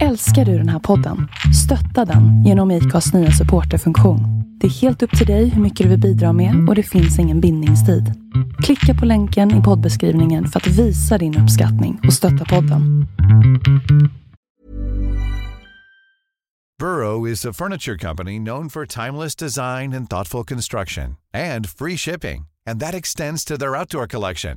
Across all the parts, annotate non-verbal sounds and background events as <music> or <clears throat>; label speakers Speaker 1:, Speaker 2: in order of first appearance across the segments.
Speaker 1: Älskar du den här podden? Stötta den genom IKAs nya supporterfunktion. Det är helt upp till dig hur mycket du vill bidra med och det finns ingen bindningstid. Klicka på länken i poddbeskrivningen för att visa din uppskattning och stötta podden.
Speaker 2: Burrow is a furniture company known for timeless design and thoughtful construction and free shipping, and that extends to their outdoor collection.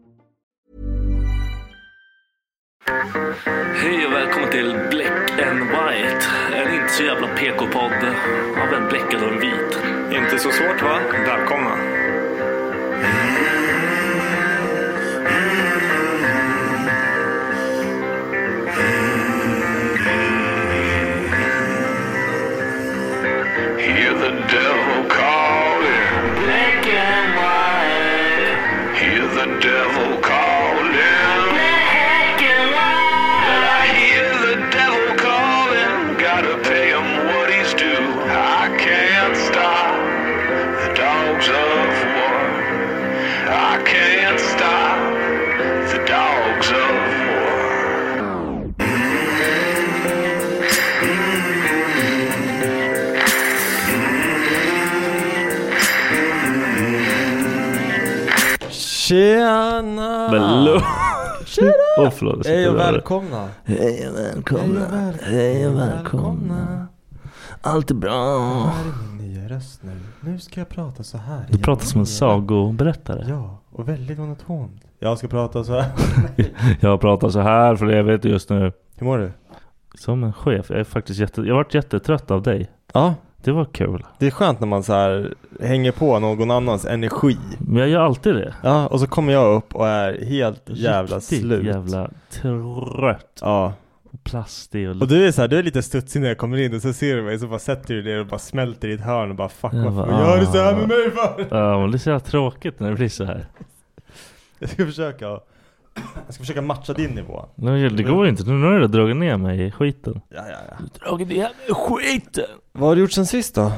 Speaker 3: Hej och välkommen till Black and White. En inte så jävla PK-podd av en bläckad och en vit.
Speaker 4: Inte så svårt va? Välkomna.
Speaker 5: Hear the devil calling. Black and white. Hear the devil calling. Black and white. I hear the devil calling. Gotta pay him what he's due. I can't stop the dogs of war. I can't stop the dogs of war.
Speaker 6: Tjena!
Speaker 3: Men lugn. <laughs> Åh förlåt. jag ska
Speaker 6: Hej
Speaker 3: inte
Speaker 6: och
Speaker 3: göra det.
Speaker 6: välkomna!
Speaker 7: Hej och välkomna. Hej och välkomna. Allt är
Speaker 6: Det
Speaker 7: bra.
Speaker 6: här är min nya röst nu. Nu ska jag prata så här.
Speaker 3: Du pratar som en sagoberättare.
Speaker 6: Ja, och väldigt monotont. Jag ska prata så här.
Speaker 3: <laughs> Jag pratar så här för jag vet just nu.
Speaker 6: Hur mår du?
Speaker 3: Som en chef. Jag är faktiskt jätte... Jag varit jättetrött av dig.
Speaker 6: Ja,
Speaker 3: Det var kul.
Speaker 6: det är skönt när man så här hänger på någon annans energi.
Speaker 3: Men jag gör alltid det.
Speaker 6: Ja, och så kommer jag upp och är helt jävla
Speaker 3: Riktigt
Speaker 6: slut.
Speaker 3: jävla trött.
Speaker 6: Ja,
Speaker 3: Och plastig och...
Speaker 6: och du är så här, du är lite studsig när jag kommer in och så ser du mig så bara sätter du dig och bara smälter i ett hörn och bara fuck
Speaker 3: Jag
Speaker 6: varför
Speaker 3: bara,
Speaker 6: gör du så här
Speaker 3: ah.
Speaker 6: med mig för?
Speaker 3: Ja, men det är så jävla tråkigt när det blir så här.
Speaker 6: Jag ska försöka, jag ska försöka matcha din nivå.
Speaker 3: Nej, Det går inte. Nu har du dragit ner mig i skiten.
Speaker 6: Ja, ja, ja.
Speaker 3: Dragit ner mig i skiten!
Speaker 6: Vad har du gjort sen sist då?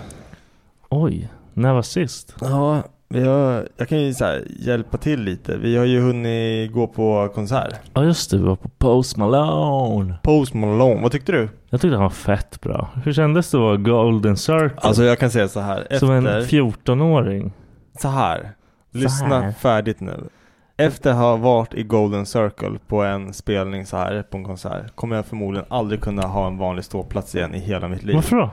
Speaker 3: Oj. När var sist?
Speaker 6: Ja, vi har, jag kan ju så här hjälpa till lite. Vi har ju hunnit gå på konsert.
Speaker 3: Ja just det, vi var på Post Malone.
Speaker 6: Post Malone, vad tyckte du?
Speaker 3: Jag tyckte han var fett bra. Hur kändes det att vara Golden Circle?
Speaker 6: Alltså jag kan säga så här. Efter,
Speaker 3: Som en 14-åring.
Speaker 6: så här. Lyssna
Speaker 3: här.
Speaker 6: färdigt nu. Efter att ha varit i Golden Circle på en spelning så här på en konsert kommer jag förmodligen aldrig kunna ha en vanlig ståplats igen i hela mitt liv.
Speaker 3: Varför då?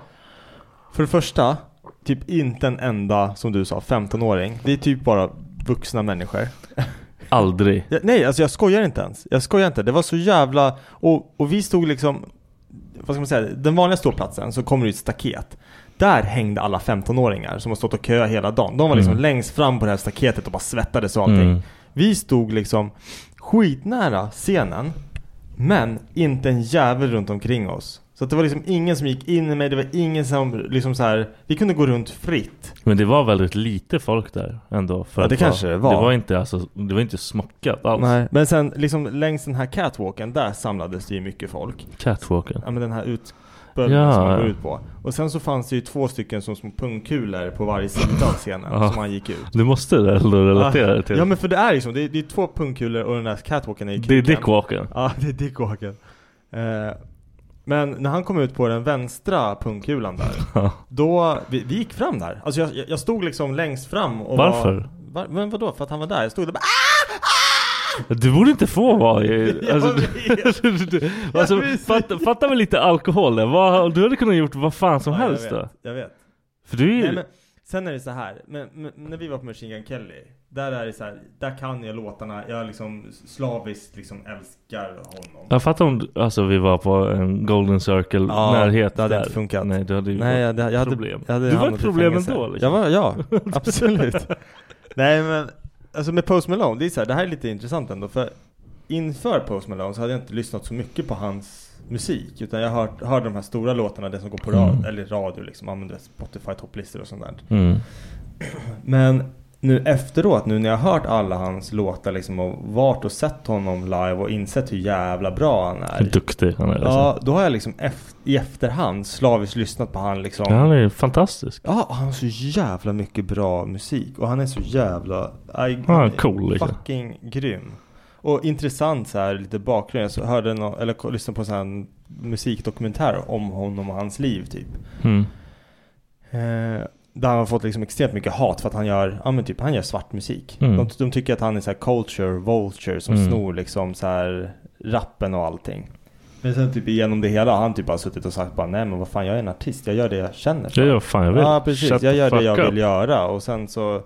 Speaker 6: För det första, typ inte en enda, som du sa, 15-åring. Det är typ bara vuxna människor.
Speaker 3: <laughs> Aldrig.
Speaker 6: Ja, nej, alltså jag skojar inte ens. Jag skojar inte. Det var så jävla... Och, och vi stod liksom... Vad ska man säga? Den vanliga ståplatsen så kommer det ett staket. Där hängde alla 15-åringar som har stått och köat hela dagen. De var liksom
Speaker 3: Mm.
Speaker 6: längst fram på det här staketet och bara svettades och allting.
Speaker 3: Mm.
Speaker 6: Vi stod liksom skitnära scenen. Men inte en jävel runt omkring oss. Så att det var liksom ingen som gick in i mig. Det var ingen som liksom så här. Vi kunde gå runt fritt.
Speaker 3: Men det var väldigt lite folk där ändå. För
Speaker 6: Ja,
Speaker 3: att
Speaker 6: det kanske
Speaker 3: vara-
Speaker 6: det var.
Speaker 3: Det var inte, alltså, det var inte smockat alls.
Speaker 6: Nej. Men sen liksom längs den här catwalken. Där samlades det ju mycket folk.
Speaker 3: Catwalken.
Speaker 6: Ja men den här ut... trappor
Speaker 8: Ja.
Speaker 6: som han går ut på. Och sen så fanns det ju två stycken som små pungkulor på varje sida av scenen
Speaker 8: Ja.
Speaker 6: som han gick ut.
Speaker 8: Du måste ändå relatera det till.
Speaker 6: Ja men för det är liksom, det är, det är två pungkulor och den där catwalken är i
Speaker 8: Det är
Speaker 6: kuken.
Speaker 8: dickwalken.
Speaker 6: Ja, <laughs> det är dickwalken. Eh, men när han kom ut på den vänstra pungkulan där,
Speaker 8: <laughs> Ja.
Speaker 6: då, vi, vi gick fram där. Alltså jag, jag- jag stod liksom längst fram och
Speaker 8: Varför?
Speaker 6: Var, var, men vadå? För att han var där? Jag stod där och bara
Speaker 8: Du borde inte få vara
Speaker 6: <laughs>
Speaker 8: i... Alltså,
Speaker 6: vet.
Speaker 8: alltså, <laughs> du- alltså, fatta, fatta väl lite alkohol där. Vad, Du hade kunnat gjort vad fan som
Speaker 6: Ja,
Speaker 8: helst
Speaker 6: jag
Speaker 8: då.
Speaker 6: vet, jag vet.
Speaker 8: För du är ju...
Speaker 6: Nej, men, sen är det så här, men, men, när vi var på Machine Gun Kelly, där är det så här, där kan jag låtarna, jag liksom slaviskt liksom älskar honom.
Speaker 8: Jag fattar om du- alltså, vi var på en Golden Circle
Speaker 6: Ja,
Speaker 8: närhet
Speaker 6: det hade
Speaker 8: där.
Speaker 6: inte funkat.
Speaker 8: Nej, du hade ju
Speaker 6: Nej, jag,
Speaker 8: fått
Speaker 6: jag hade
Speaker 8: problem.
Speaker 6: Jag hade
Speaker 8: du var
Speaker 6: hamnat
Speaker 8: ett
Speaker 6: i
Speaker 8: problem
Speaker 6: fängelse.
Speaker 8: ändå
Speaker 6: Jag
Speaker 8: liksom.
Speaker 6: var, ja, <laughs> absolut. Nej men, alltså med Post Malone, det är så här, det här är lite intressant ändå för inför Post Malone så hade jag inte lyssnat så mycket på hans musik utan jag hört, hörde de här stora låtarna, det som går på radio,
Speaker 8: Mm.
Speaker 6: eller radio liksom, använder Spotify topplistor och sånt där.
Speaker 8: Mm.
Speaker 6: Men nu efteråt, nu när jag har hört alla hans låtar liksom och varit och sett honom live och insett hur jävla bra han är.
Speaker 8: Hur duktig han är. Alltså.
Speaker 6: Ja, då har jag liksom eft- i efterhand slaviskt lyssnat på han liksom.
Speaker 8: Ja, han är ju fantastisk.
Speaker 6: Ja, han har så jävla mycket bra musik och han är så jävla... Aj,
Speaker 8: Han är cool, liksom.
Speaker 6: Fucking grym. Och intressant så här lite bakgrund. Jag så hörde nå eller ko- lyssnade på en sån här musikdokumentär om honom och hans liv typ.
Speaker 8: Mm.
Speaker 6: Eh, där han har fått liksom extremt mycket hat för att han gör, ja men typ han gör svart musik.
Speaker 8: Mm.
Speaker 6: De, de tycker att han är så här culture vulture som
Speaker 8: Mm.
Speaker 6: snor liksom så här rappen och allting. Men sen typ igenom det hela har han typ bara suttit och sagt bara nej men vad fan jag är en artist, jag gör det jag känner för.
Speaker 8: Jag gör vad fan jag vill.
Speaker 6: Ja precis,
Speaker 8: Shut
Speaker 6: jag
Speaker 8: the
Speaker 6: gör det
Speaker 8: fuck
Speaker 6: jag
Speaker 8: up.
Speaker 6: vill göra och sen så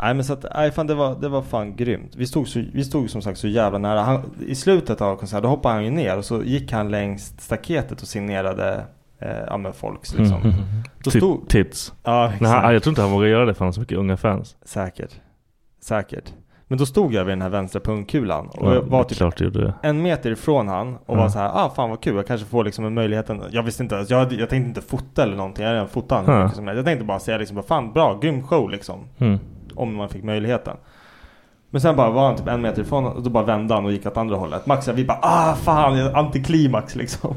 Speaker 6: Nej men så att, nej fan det var, det var fan grymt. Vi stod, så, vi stod som sagt så jävla nära. Han, I slutet av konserten, då hoppade han ju ner och så gick han längs staketet och signerade eh, ja, men folks liksom.
Speaker 8: <laughs> Mm.
Speaker 6: Då
Speaker 8: Tit-
Speaker 6: stod-
Speaker 8: Tits.
Speaker 6: Ja
Speaker 8: Nej,
Speaker 6: exakt,
Speaker 8: han, jag tror inte han vågar göra det för han har så mycket unga fans.
Speaker 6: säkert. Säkert. Men då stod jag vid den här vänstra pungkulan och
Speaker 8: Ja,
Speaker 6: jag var
Speaker 8: det är
Speaker 6: typ
Speaker 8: klart du gjorde det.
Speaker 6: en meter ifrån han och
Speaker 8: Ja.
Speaker 6: var så här, ah fan vad kul, jag kanske får liksom en möjligheten. Jag visste inte, ens- jag, hade- jag tänkte inte fota eller någonting, jag hade redan fotat honom hur
Speaker 8: Ja.
Speaker 6: mycket som helst. Jag tänkte bara säga liksom, bara, fan bra, grym show liksom.
Speaker 8: Mm.
Speaker 6: Om man fick möjligheten. Men sen bara var han typ en meter ifrån och då bara vände han och gick åt andra hållet. Max och vi bara ah fan, antiklimax liksom.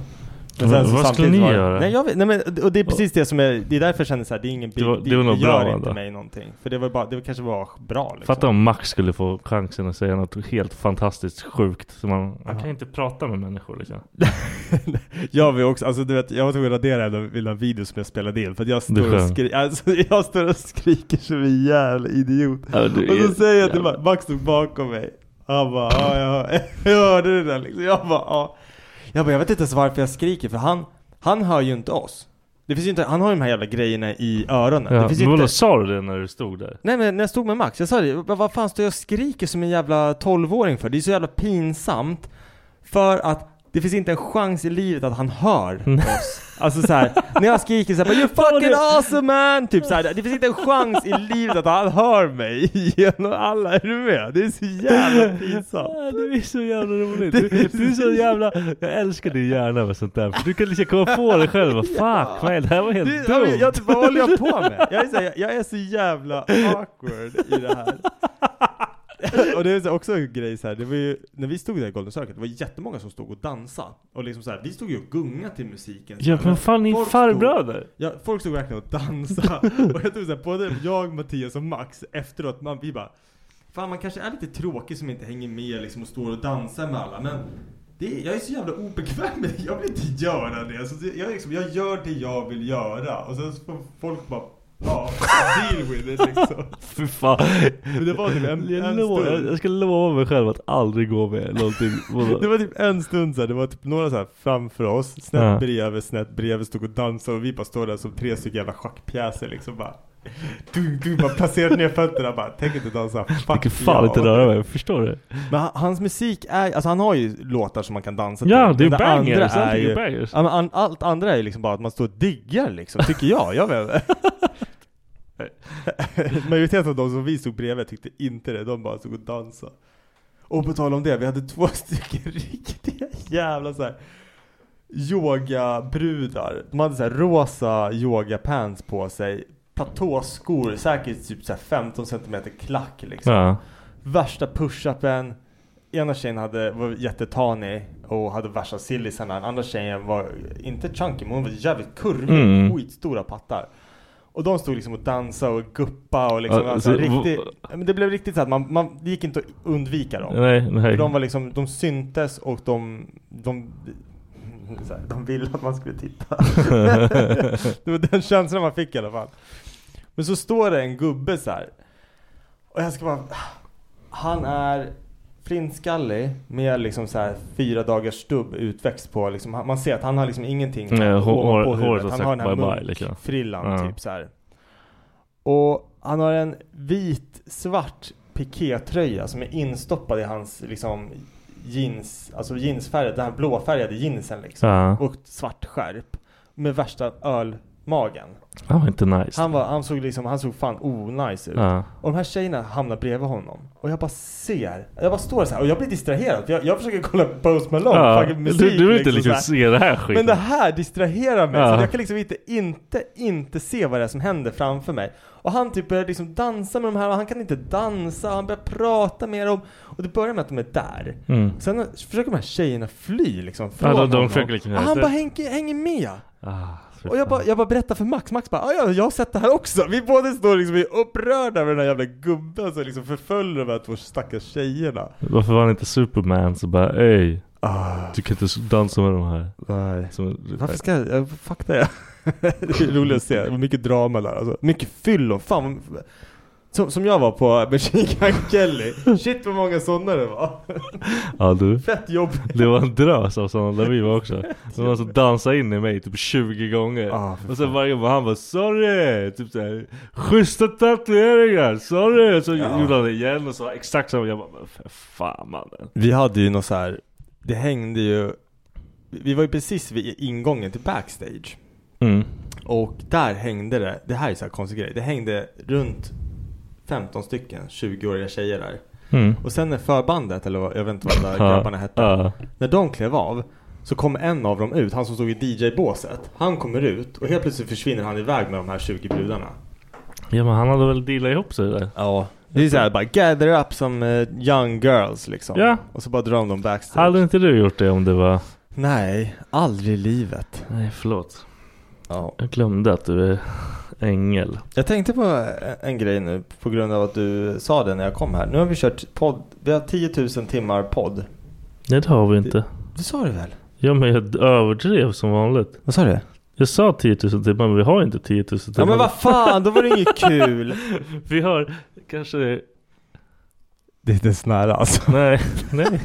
Speaker 6: Men
Speaker 8: Vad-
Speaker 6: så
Speaker 8: vad skulle
Speaker 6: samtidigt
Speaker 8: ni
Speaker 6: var det-
Speaker 8: göra?
Speaker 6: Nej, jag vet, nej men och det är precis det som är, det är därför jag känner såhär, det är ingen big
Speaker 8: Det var-
Speaker 6: deal,
Speaker 8: det var nog
Speaker 6: gör
Speaker 8: bra
Speaker 6: inte
Speaker 8: ändå.
Speaker 6: mig någonting. För det var bara, det kanske var bra liksom.
Speaker 8: Fatta om Max skulle få chansen att säga något helt fantastiskt sjukt. Så man, han kan inte prata med människor liksom.
Speaker 6: <laughs> Jag vill också, alltså du vet, jag var tvungen att radera en vilda video som jag spelade in för att jag
Speaker 8: Du
Speaker 6: står
Speaker 8: är
Speaker 6: och
Speaker 8: skön.
Speaker 6: skriker, alltså <laughs> jag står och skriker som en jävla idiot.
Speaker 8: Ja, du
Speaker 6: och så
Speaker 8: är
Speaker 6: säger jag till
Speaker 8: jävla-
Speaker 6: Max, Max stod bakom mig. Han bara, ja jag, <laughs> jag hörde det där liksom. Jag bara, ja. Jag bara, jag vet inte ens varför jag skriker för han, han hör ju inte oss. Det finns ju inte, han har ju de här jävla grejerna i öronen.
Speaker 8: Ja,
Speaker 6: det finns ju
Speaker 8: men vadå,
Speaker 6: inte...
Speaker 8: sa du det när du stod där?
Speaker 6: Nej men när jag stod med Max, jag sa det, jag bara, vad fan står jag och skriker som en jävla 12-åring för? Det är så jävla pinsamt För att det finns inte en chans i livet att han hör
Speaker 8: Mm.
Speaker 6: oss Alltså så här, när jag skriker
Speaker 8: <laughs>
Speaker 6: såhär 'You fucking awesome man' Typ så här, det finns inte en chans i livet att han hör mig <laughs> genom alla, är du med? Det är så jävla
Speaker 8: <laughs>
Speaker 6: pinsamt
Speaker 8: Ah, Du är så jävla rolig. Du, du är så jävla... Jag älskar din hjärna med sånt där. För du kan liksom komma på dig själv. Vad Fuck man, det här var helt
Speaker 6: Det, ja, men
Speaker 8: dumt.
Speaker 6: jag, typ, vad håller jag på med? Jag är, så, jag, jag är så jävla awkward i det här. <laughs> och det är så- också en grej så här, det var ju, när vi stod där i Golden Circle, det var jättemånga som stod och dansade. Och liksom så här, vi stod ju och gungade till musiken. så
Speaker 8: Ja
Speaker 6: här,
Speaker 8: men fan ni är
Speaker 6: folk
Speaker 8: farbröder.
Speaker 6: Stod, ja, folk stod verkligen och dansade. <laughs> och jag tror så här, både jag, Mattias och Max efteråt, man, vi bara Fan man kanske är lite tråkig som inte hänger med liksom och står och dansar med alla men det är, jag är så jävla obekväm med det. Jag vill inte göra det. Alltså, det- jag, är liksom, jag gör det jag vill göra och sen så får folk bara Ja, deal with it liksom.
Speaker 8: <laughs> Fy fan.
Speaker 6: Men det var typ en,
Speaker 8: Jag,
Speaker 6: en
Speaker 8: lovar- jag,
Speaker 6: stund.
Speaker 8: jag ska lova mig själv att aldrig gå med någonting.
Speaker 6: Det var typ en stund så här, det var typ några så här framför oss, snett
Speaker 8: Ja.
Speaker 6: bredvid, snett bredvid, stod och dansade och vi bara står där som tre stycken jävla schackpjäser liksom bara. Du, du bara placerat ner fötterna bara, tänk inte dansa,
Speaker 8: Jag
Speaker 6: fuck
Speaker 8: kan fan
Speaker 6: ja.
Speaker 8: inte röra mig, förstår du?
Speaker 6: Men han- hans musik är, alltså han har ju låtar som man kan dansa
Speaker 8: Ja,
Speaker 6: till.
Speaker 8: det är
Speaker 6: Men
Speaker 8: bangers.
Speaker 6: andra är
Speaker 8: allting
Speaker 6: ju,
Speaker 8: är bangers.
Speaker 6: ja, men an, allt andra är ju liksom bara att man står och diggar liksom, tycker jag. Jag vet <laughs> Majoriteten av de som vi stod bredvid tyckte inte det, de bara stod och dansade. Och på tal om det, vi hade två <laughs> stycken riktiga jävla så här yogabrudar. De hade så här rosa yogapants på sig, platåskor, säkert typ så här 15 cm klack liksom
Speaker 8: Ja.
Speaker 6: värsta push-upen Ena tjejen hade, var jättetanig och hade värsta sillisarna. Den andra tjejen var inte chunky men hon var jävligt kurvig.
Speaker 8: Mm.
Speaker 6: Skitstora pattar. Och de stod liksom och dansade och guppa och liksom
Speaker 8: Ja,
Speaker 6: alltså,
Speaker 8: så-
Speaker 6: riktigt, Ja, men det blev riktigt så att man, man, det gick inte att undvika dem.
Speaker 8: Nej, nej.
Speaker 6: För de var liksom, de syntes och de, de, så här, de ville att man
Speaker 8: <laughs>
Speaker 6: skulle titta. det var den känslan man fick i alla fall. Men så står det en gubbe så här. Och jag ska bara, han är flintskallig med liksom så här fyra dagars stubb utväxt på liksom, han- man ser att han har liksom ingenting
Speaker 8: Nej, hår-
Speaker 6: ovanpå
Speaker 8: hår-
Speaker 6: huvudet.
Speaker 8: håret har
Speaker 6: Han
Speaker 8: sagt
Speaker 6: har den här
Speaker 8: bye bye, liksom.
Speaker 6: munkfrillan
Speaker 8: Ja.
Speaker 6: typ så här. Och han har en vit svart pikétröja som är instoppad i hans liksom jeans, alltså jeansfärgade, den här blåfärgade jeansen liksom.
Speaker 8: Ja.
Speaker 6: Och ett svart skärp. Med värsta ölmagen.
Speaker 8: Han var inte nice.
Speaker 6: Han, var, han såg liksom, han såg fan onajs ut.
Speaker 8: Ja.
Speaker 6: Och de här tjejerna hamnar bredvid honom. Och jag bara ser, jag bara står så här och jag blir distraherad. För jag, jag försöker kolla Post Malone,
Speaker 8: Ja,
Speaker 6: fucking
Speaker 8: du-
Speaker 6: musik.
Speaker 8: du vill inte liksom
Speaker 6: så här.
Speaker 8: se det här skiten.
Speaker 6: Men det här distraherar mig.
Speaker 8: Ja.
Speaker 6: Så jag kan liksom inte, inte, inte se vad det är som händer framför mig. Och han typ börjar liksom dansa med de här och han kan inte dansa. Han börjar prata med dem. Och det börjar med att de är där.
Speaker 8: Mm.
Speaker 6: Sen försöker de här tjejerna fly liksom från
Speaker 8: Ja, de- de
Speaker 6: honom.
Speaker 8: försöker liksom-
Speaker 6: och han bara hänger, hänger med.
Speaker 8: Ah,
Speaker 6: Och jag bara, jag bara berättar för Max, Max bara "Ah, ja, jag har sett det här också. Vi båda står liksom vi är upprörda över den här jävla gubben som liksom förföljer de här två stackars tjejerna.
Speaker 8: Varför var han inte Superman så bara ey
Speaker 6: Ah.
Speaker 8: Du kan inte s- dansa med de här.
Speaker 6: Nej.
Speaker 8: Som,
Speaker 6: Varför ska jag, jag- fuck det. <laughs> det är roligt att se, Det var mycket drama där alltså. Mycket fyllo, fan. vad- Som, som jag var på Machine Gun Kelly. Shit vad många sådana det var.
Speaker 8: Ja du.
Speaker 6: Fett jobb.
Speaker 8: Det var en drös av sådana där vi var också. Det var någon som dansade in i mig typ 20 gånger.
Speaker 6: Ah,
Speaker 8: och sen varje gång han bara 'Sorry' typ såhär 'Schyssta tatueringar, sorry' Så
Speaker 6: Ja.
Speaker 8: gjorde han det igen och så exakt samma. Jag bara "Men för fan mannen.
Speaker 6: Vi hade ju något så här. det hängde ju, vi var ju precis vid ingången till backstage.
Speaker 8: Mm.
Speaker 6: Och där hängde det, det här är så här konstig grej, det hängde runt 15 stycken 20-åriga tjejer där.
Speaker 8: Mm.
Speaker 6: Och sen när förbandet, eller vad- jag vet inte vad de där
Speaker 8: Ja,
Speaker 6: grabbarna hette,
Speaker 8: ja.
Speaker 6: när de klev av så kom en av dem ut, han som stod i DJ-båset. Han kommer ut och helt plötsligt försvinner han iväg med de här 20 brudarna.
Speaker 8: Ja men han hade väl dealat ihop sig där.
Speaker 6: Ja. Det är såhär bara gather up some eh, young girls liksom.
Speaker 8: Ja.
Speaker 6: Och så bara drar de dem backstage.
Speaker 8: Hade inte du gjort det om det var...
Speaker 6: Nej, aldrig i livet.
Speaker 8: Nej förlåt.
Speaker 6: Ja.
Speaker 8: Jag glömde att du är ängel.
Speaker 6: Jag tänkte på eh, en grej nu på grund av att du sa det när jag kom här. Nu har vi kört podd, vi har 10 000 timmar podd.
Speaker 8: Nej det har vi inte.
Speaker 6: Du sa det väl?
Speaker 8: Ja men jag överdrev som vanligt.
Speaker 6: Vad sa du?
Speaker 8: Jag sa 10 000 timmar men vi har inte 10 000 timmar.
Speaker 6: Ja men vad fan, då var det inget kul.
Speaker 8: <laughs> Vi har kanske...
Speaker 6: Det är inte ens nära alltså.
Speaker 8: Nej, <laughs>
Speaker 6: <laughs>
Speaker 8: nej,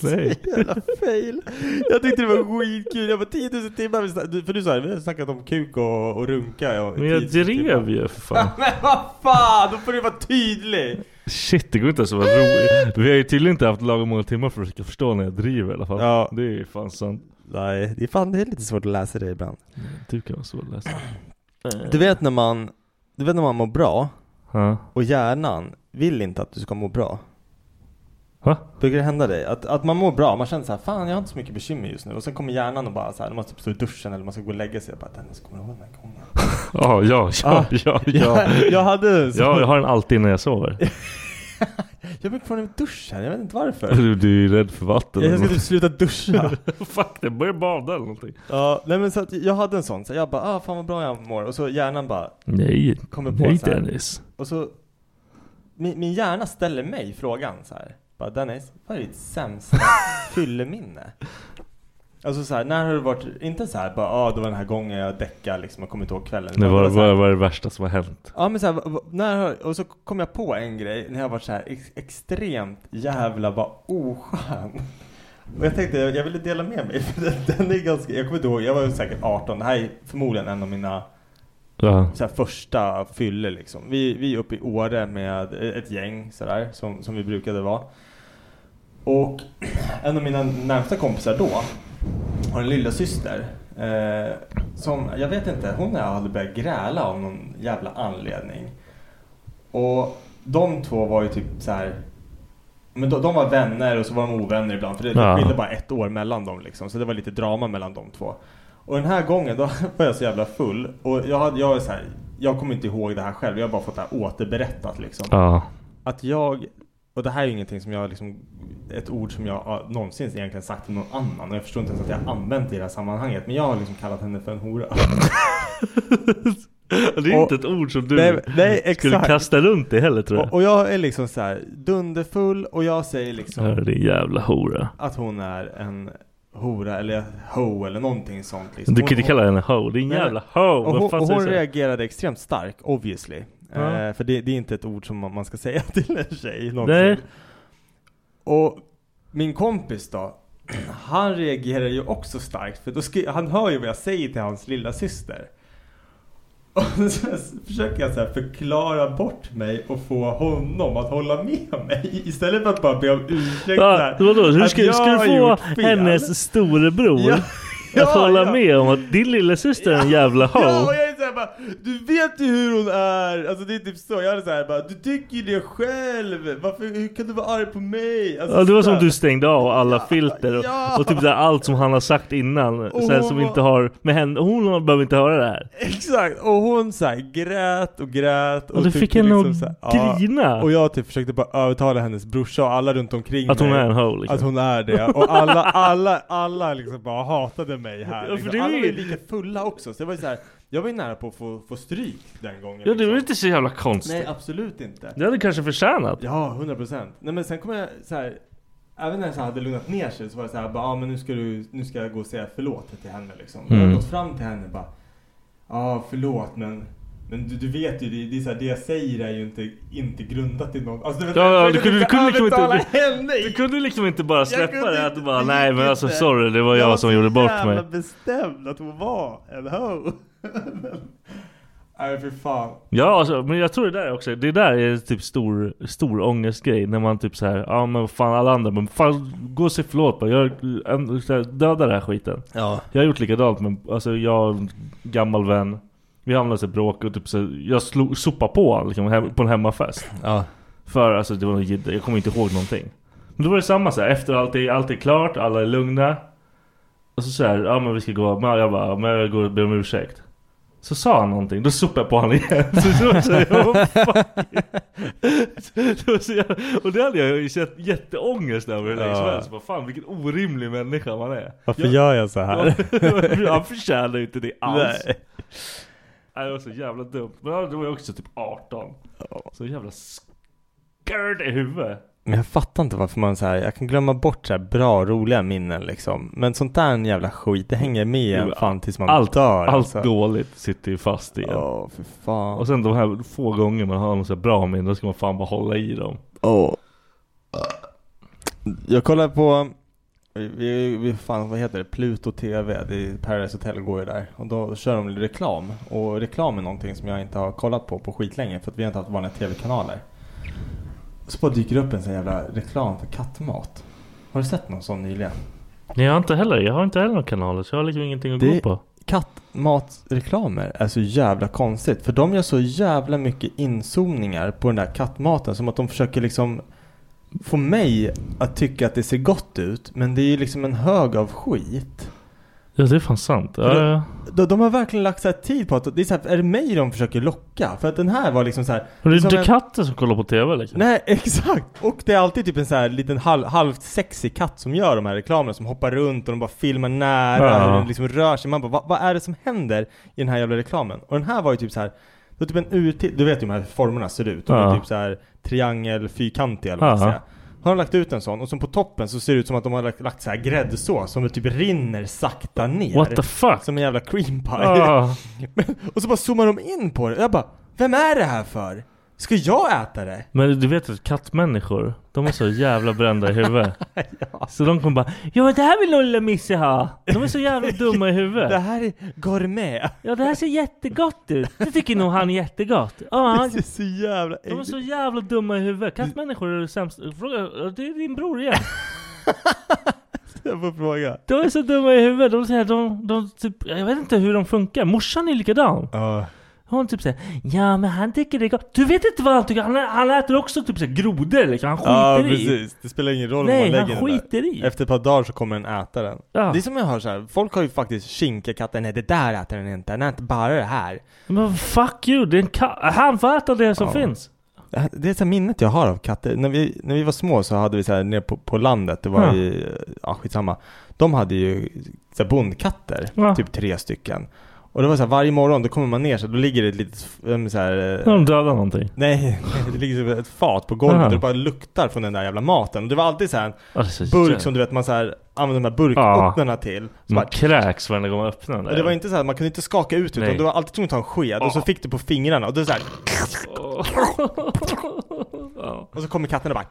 Speaker 8: nej.
Speaker 6: Jävla fail. Jag tyckte det var skitkul. Jag var 10 000 timmar. vi snack- du- För du sa vi har snackat om kuk och, och runka. ja,
Speaker 8: Men jag
Speaker 6: 10 000 timmar.
Speaker 8: drev ju för fan.
Speaker 6: <laughs> Men vad fan, då får du vara tydlig.
Speaker 8: Shit det går inte ens att vara rolig. Vi har ju tydligen inte haft lagom många timmar för att försöka förstå när jag driver i alla fall.
Speaker 6: Ja.
Speaker 8: Det är ju fan sant.
Speaker 6: Nej, det är fan det är lite svårt att läsa det ibland.
Speaker 8: Du typ kan vara så ledsen.
Speaker 6: Du vet när man, du vet när man mår bra
Speaker 8: Ja.
Speaker 6: och hjärnan vill inte att du ska må bra.
Speaker 8: Va?
Speaker 6: Brukar det hända dig? Att, att man mår bra, man känner så här, fan jag har inte så mycket bekymmer just nu. Och sen kommer hjärnan och bara så här, när man typ står i duschen eller man ska gå och lägga sig. Jag bara, Dennis kommer du ihåg den här gången?
Speaker 8: <laughs> Ja, ja, ja,
Speaker 6: Ah.
Speaker 8: ja, ja.
Speaker 6: jag
Speaker 8: <laughs>
Speaker 6: hade så.
Speaker 8: Ja, jag har den alltid innan jag sover.
Speaker 6: Jag brukar få den i duschen, jag vet inte varför.
Speaker 8: Du, du är ju rädd för vatten.
Speaker 6: Jag ska typ
Speaker 8: <laughs>
Speaker 6: sluta duscha.
Speaker 8: Fuck det, börja bada eller någonting.
Speaker 6: ja, nej men så att jag hade en sån. Så jag bara, ah fan vad bra jag mår. Och så hjärnan bara,
Speaker 8: Nej,
Speaker 6: Kommer på
Speaker 8: nej
Speaker 6: så här.
Speaker 8: Dennis.
Speaker 6: och så min, min hjärna ställer mig frågan så här. Bara Dennis, vad är ditt sämsta fylleminne? Alltså så här, när har du varit, inte så här bara, ah det var den här gången jag däckade liksom och kom inte ihåg kvällen.
Speaker 8: Det
Speaker 6: Utan
Speaker 8: var,
Speaker 6: det så här-
Speaker 8: var, var det värsta som har hänt.
Speaker 6: Ja men så här, v- v- när, har- och så kom jag på en grej när jag var så här ex, extremt jävla vad oskön. Och jag tänkte jag, jag ville dela med mig <laughs> för den, den är ganska, jag kommer inte ihåg, jag var ju säkert 18, det här är förmodligen en av mina
Speaker 8: Ja.
Speaker 6: så här, första fyller liksom. Vi, vi är uppe i Åre med ett gäng sådär som, som vi brukade vara. Och <clears throat> en av mina närmsta kompisar då har en lilla syster eh, som, jag vet inte, hon och jag hade börjat gräla av någon jävla anledning. Och de två var ju typ så här. Men de, de var vänner och så var de ovänner ibland för det, det
Speaker 8: Ja.
Speaker 6: skilde bara ett år mellan dem liksom. Så det var lite drama mellan de två. Och den här gången då <laughs> var jag så jävla full och jag, hade, jag är så här, jag kommer inte ihåg det här själv. Jag har bara fått det här återberättat liksom.
Speaker 8: Ja.
Speaker 6: Att jag Och det här är ju ingenting som jag liksom, ett ord som jag har någonsin egentligen sagt till någon annan. Och jag förstår inte ens att jag har använt det i det här sammanhanget. Men jag har liksom kallat henne för en hora.
Speaker 8: Det är inte ett ord som du skulle kasta runt dig heller tror jag.
Speaker 6: Och, och jag är liksom så här dunderfull och jag säger liksom
Speaker 8: Ja, din jävla hora.
Speaker 6: att hon är en hora eller ho eller någonting sånt. Liksom.
Speaker 8: Du kan
Speaker 6: Hon-
Speaker 8: inte kalla
Speaker 6: hon-
Speaker 8: henne ho, din
Speaker 6: Nej,
Speaker 8: jävla ho.
Speaker 6: nej. Och
Speaker 8: Vad
Speaker 6: hon,
Speaker 8: fan
Speaker 6: och
Speaker 8: säger
Speaker 6: hon
Speaker 8: du så här?
Speaker 6: reagerar extremt stark, obviously.
Speaker 8: Ja.
Speaker 6: Eh, för det, det är inte ett ord som man, man ska <laughs> säga till en tjej någonsin.
Speaker 8: Nej.
Speaker 6: Och min kompis då, <clears throat> han reagerar ju också starkt. För då skri- han hör ju vad jag säger till hans lilla syster. <laughs> Och så försöker jag så här förklara bort mig och få honom att hålla med mig. <laughs> Istället för att bara be om ursäkt. så
Speaker 8: Ja,
Speaker 6: här,
Speaker 8: vadå? Hur
Speaker 6: att
Speaker 8: ska,
Speaker 6: jag
Speaker 8: ska du
Speaker 6: har
Speaker 8: få
Speaker 6: gjort fel.
Speaker 8: hennes storebror
Speaker 6: Ja, ja,
Speaker 8: att hålla
Speaker 6: ja.
Speaker 8: med om att din lilla syster är en jävla ho?
Speaker 6: Ja, och jag är såhär bara, du vet ju hur hon är! Alltså det är typ så, jag är såhär bara, du tycker ju det själv! Varför, hur kan du vara arg på mig? Alltså,
Speaker 8: Ja, det var
Speaker 6: så
Speaker 8: som
Speaker 6: här.
Speaker 8: du stängde av alla filter och,
Speaker 6: ja. Oh.
Speaker 8: och typ där allt som han har sagt innan.
Speaker 6: Och
Speaker 8: sen
Speaker 6: hon
Speaker 8: som
Speaker 6: var-
Speaker 8: inte har med henne, hon behöver inte höra det här.
Speaker 6: Exakt! Och hon såhär grät och grät
Speaker 8: Och du
Speaker 6: tyckte
Speaker 8: fick henne att
Speaker 6: så här,
Speaker 8: grina.
Speaker 6: Ja, och jag typ försökte bara övertala hennes brorsa och alla runt omkring
Speaker 8: Att hon
Speaker 6: mig
Speaker 8: är en ho, liksom.
Speaker 6: Att hon är det. Och alla, alla, alla liksom bara hatade mig här.
Speaker 8: Ja, för
Speaker 6: Liksom.
Speaker 8: det är
Speaker 6: Alla var
Speaker 8: ju-
Speaker 6: ju lika fulla också, så det var ju såhär, jag var ju nära på att få, få stryk den gången.
Speaker 8: Ja, det var
Speaker 6: liksom.
Speaker 8: inte så jävla konstigt.
Speaker 6: Nej, absolut inte.
Speaker 8: Det hade kanske förtjänat.
Speaker 6: Ja, 100 procent. Nej men sen kom jag så här. Även när jag så här hade lugnat ner sig så var det så här, bara, ah, men nu ska, du, nu ska jag gå och säga förlåt till henne liksom. Jag har
Speaker 8: Mm.
Speaker 6: gått fram till henne och bara, ja ah, förlåt men, men du, du vet ju, det, det, är så här, det jag säger är ju inte, inte grundat i någon... Alltså, vet,
Speaker 8: Ja, ja,
Speaker 6: jag
Speaker 8: du kunde, du,
Speaker 6: försökte
Speaker 8: kunde liksom
Speaker 6: övertala
Speaker 8: inte,
Speaker 6: henne
Speaker 8: du, du kunde liksom inte bara släppa
Speaker 6: kunde
Speaker 8: det att du
Speaker 6: inte-
Speaker 8: bara
Speaker 6: det
Speaker 8: nej
Speaker 6: gick
Speaker 8: men alltså
Speaker 6: inte."
Speaker 8: sorry det var jag, som
Speaker 6: så
Speaker 8: gjorde bort mig.
Speaker 6: jävla bestämd att hon var en ho. Men- <laughs> Nej för fan.
Speaker 8: Ja alltså, men jag tror det där också, det där är typ stor, stor ångestgrej när man typ så här, ja men vad fan alla andra, men fan gå och säg förlåt bara, jag, en- så här, döda den här skiten.
Speaker 6: Ja.
Speaker 8: Jag har gjort likadant men alltså jag och en gammal vän, vi hamnade i ett bråk och typ så här, jag slog, sopade på honom liksom, hem, på en hemmafest.
Speaker 6: Ja.
Speaker 8: För alltså det var något jidder, jag kommer inte ihåg någonting. Men då var det samma så här, efter allt är, allt är klart, alla är lugna. Och så såhär, ja men vi ska gå, men jag bara, men jag går och ber om ursäkt. Så sa han någonting, då sopade jag på honom igen. <laughs> Så då så jag, "Åh, fuck." <laughs> Då så jag- och det hade jag ju känt jätteångest över hur länge som
Speaker 6: Ja.
Speaker 8: helst. Bara, Fan vilken orimlig människa man är.
Speaker 6: Varför gör jag så <laughs> här?
Speaker 8: Ja, <laughs> han förtjänar ju inte det alls.
Speaker 6: Nej.
Speaker 8: Nej, det var så jävla dumt. Men då var jag också typ 18. Så jävla skurd i huvudet.
Speaker 6: Men jag fattar inte varför man så här, jag kan glömma bort så här bra, roliga minnen liksom. Men sånt där jävla skit, det hänger med en
Speaker 8: Jo,
Speaker 6: fan tills man
Speaker 8: allt,
Speaker 6: dör.
Speaker 8: allt
Speaker 6: alltså.
Speaker 8: dåligt sitter ju fast igen.
Speaker 6: Ja, för fan.
Speaker 8: Och sen de här få gånger man har något så här bra minnen, då ska man fan bara hålla i dem.
Speaker 6: Åh. Jag kollar på, vi, vi, fan vad heter det, Pluto TV, det är Paradise Hotel går ju där. Och då kör de reklam. Och reklam är någonting som jag inte har kollat på på skitlänge för att vi har inte haft vanliga TV-kanaler. Så bara dyker det upp en sån jävla reklam för kattmat. Har du sett någon sån nyligen?
Speaker 8: Nej jag har inte heller, jag har inte heller några kanaler så jag har liksom ingenting att gå
Speaker 6: Det-
Speaker 8: på.
Speaker 6: Kattmatreklamer är så jävla konstigt. För de gör så jävla mycket inzoomningar på den där kattmaten. Som att de försöker liksom få mig att tycka att det ser gott ut. Men det är ju liksom en hög av skit.
Speaker 8: Ja det är fan sant. Ja,
Speaker 6: För
Speaker 8: ja.
Speaker 6: De, de har verkligen lagt så här tid på att det är, så här, är det mig de försöker locka? För att den här var liksom så här.
Speaker 8: Men det är
Speaker 6: som
Speaker 8: inte
Speaker 6: en-
Speaker 8: katten som kollar på TV liksom.
Speaker 6: Nej, <laughs> exakt! Och det är alltid typ en så här liten halv, halvt sexig katt som gör de här reklamerna som hoppar runt och de bara filmar nära
Speaker 8: Ja.
Speaker 6: hur den liksom rör sig. Man bara, "Va- vad är det som händer i den här jävla reklamen? Och den här var ju typ så här det var typ en urtill, du vet ju hur de här formerna ser ut. De
Speaker 8: Ja.
Speaker 6: är typ så här triangel, fyrkantiga eller vad man ska
Speaker 8: Ja.
Speaker 6: säga. Har de lagt ut en sån och som på toppen så ser det ut som att de har lagt, lagt så här gräddsås som typ rinner sakta ner.
Speaker 8: What the fuck? <laughs> Ah.
Speaker 6: Som en jävla cream pie.
Speaker 8: Ja.
Speaker 6: Men, <laughs> och så bara zoomar de in på det. Jag bara, vem är det här för? Ska jag äta det?
Speaker 8: Men du vet att kattmänniskor, de är så jävla brända i huvudet.
Speaker 6: <laughs>
Speaker 8: Så de kommer bara Ja men det här vill Olle och Misse ha! De är så jävla dumma i huvudet.
Speaker 6: Det här är gourmet.
Speaker 8: Ja det här ser jättegott ut. Det tycker nog han är jättegott. Ja,
Speaker 6: <laughs> Det är så jävla
Speaker 8: de är så jävla dumma i huvudet. Kattmänniskor är det sämsta. Fråga, det är din bror igen.
Speaker 6: Jag får fråga.
Speaker 8: De är så dumma i huvudet. De säger de, de typ, jag vet inte hur de funkar. Morsan är likadan.
Speaker 6: Ja.
Speaker 8: Hon typ säger Ja men han tycker det är gott. Du vet inte vad han tycker. Han, han äter också typ såhär grodor liksom. Han skiter
Speaker 6: Ja
Speaker 8: i.
Speaker 6: precis, det spelar ingen roll om
Speaker 8: Nej
Speaker 6: man
Speaker 8: han
Speaker 6: lägger den
Speaker 8: skiter i.
Speaker 6: där. Efter ett par dagar så kommer den äta den.
Speaker 8: Ja.
Speaker 6: Det är som jag hör så här. folk har ju faktiskt kinkakatter, nej det där äter den inte, den äter bara det här.
Speaker 8: Men fuck you. Det är en katt. Han får äta det som
Speaker 6: Ja.
Speaker 8: finns.
Speaker 6: Det här- Det är så här minnet jag har av katter. När vi, när vi var små så hade vi så här nere på, på landet, det var
Speaker 8: Ja.
Speaker 6: i, ja skitsamma. De hade ju så här bondkatter,
Speaker 8: Ja.
Speaker 6: typ tre stycken. Och det var så här, varje morgon, då kommer man ner så här, då ligger det ett litet, äm, så här, eh,
Speaker 8: De dödar någonting.
Speaker 6: Nej, <laughs> det ligger som ett fat på golvet
Speaker 8: Aha.
Speaker 6: och det bara luktar från den där jävla maten. Och det var alltid så här en
Speaker 8: Alltså,
Speaker 6: burk som du vet man så här använder de här burköppnarna till. Så
Speaker 8: Man
Speaker 6: bara,
Speaker 8: kräks varenda gång man öppnar den
Speaker 6: och det var
Speaker 8: <laughs>
Speaker 6: inte så här, man kunde inte skaka ut utan
Speaker 8: Nej.
Speaker 6: du var alltid tvungen att ta en sked och så fick du på fingrarna och då så här. Och så kommer katten och bara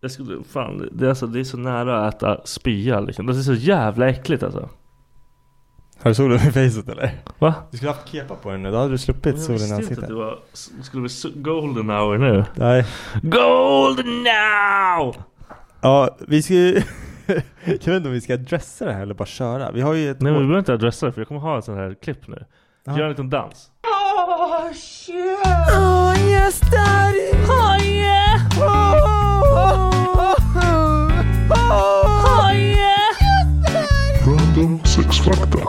Speaker 8: Jag skulle, fan, det är, alltså, det är så nära att äta spya liksom. Det är så jävla äckligt alltså.
Speaker 6: Har du solen i facet eller?
Speaker 8: Va?
Speaker 6: Du skulle haft kepa på dig nu, då hade du sluppit solen i
Speaker 8: Jag visste inte att
Speaker 6: ansiktet.
Speaker 8: det var, skulle bli så- golden hour nu.
Speaker 6: <laughs> Nej.
Speaker 8: Golden now!
Speaker 6: Ja, vi ska ju... <laughs> Jag vet inte om vi ska adressa det här eller bara köra. Vi har ju ett...
Speaker 8: Nej men vi behöver inte adressa det för jag kommer ha ett sånt här klipp nu. Gör en liten dans.
Speaker 5: Oh shit! Oh yes, daddy! Oh yeah! Oh, oh, oh, oh, oh yeah!
Speaker 6: Random sex fakta.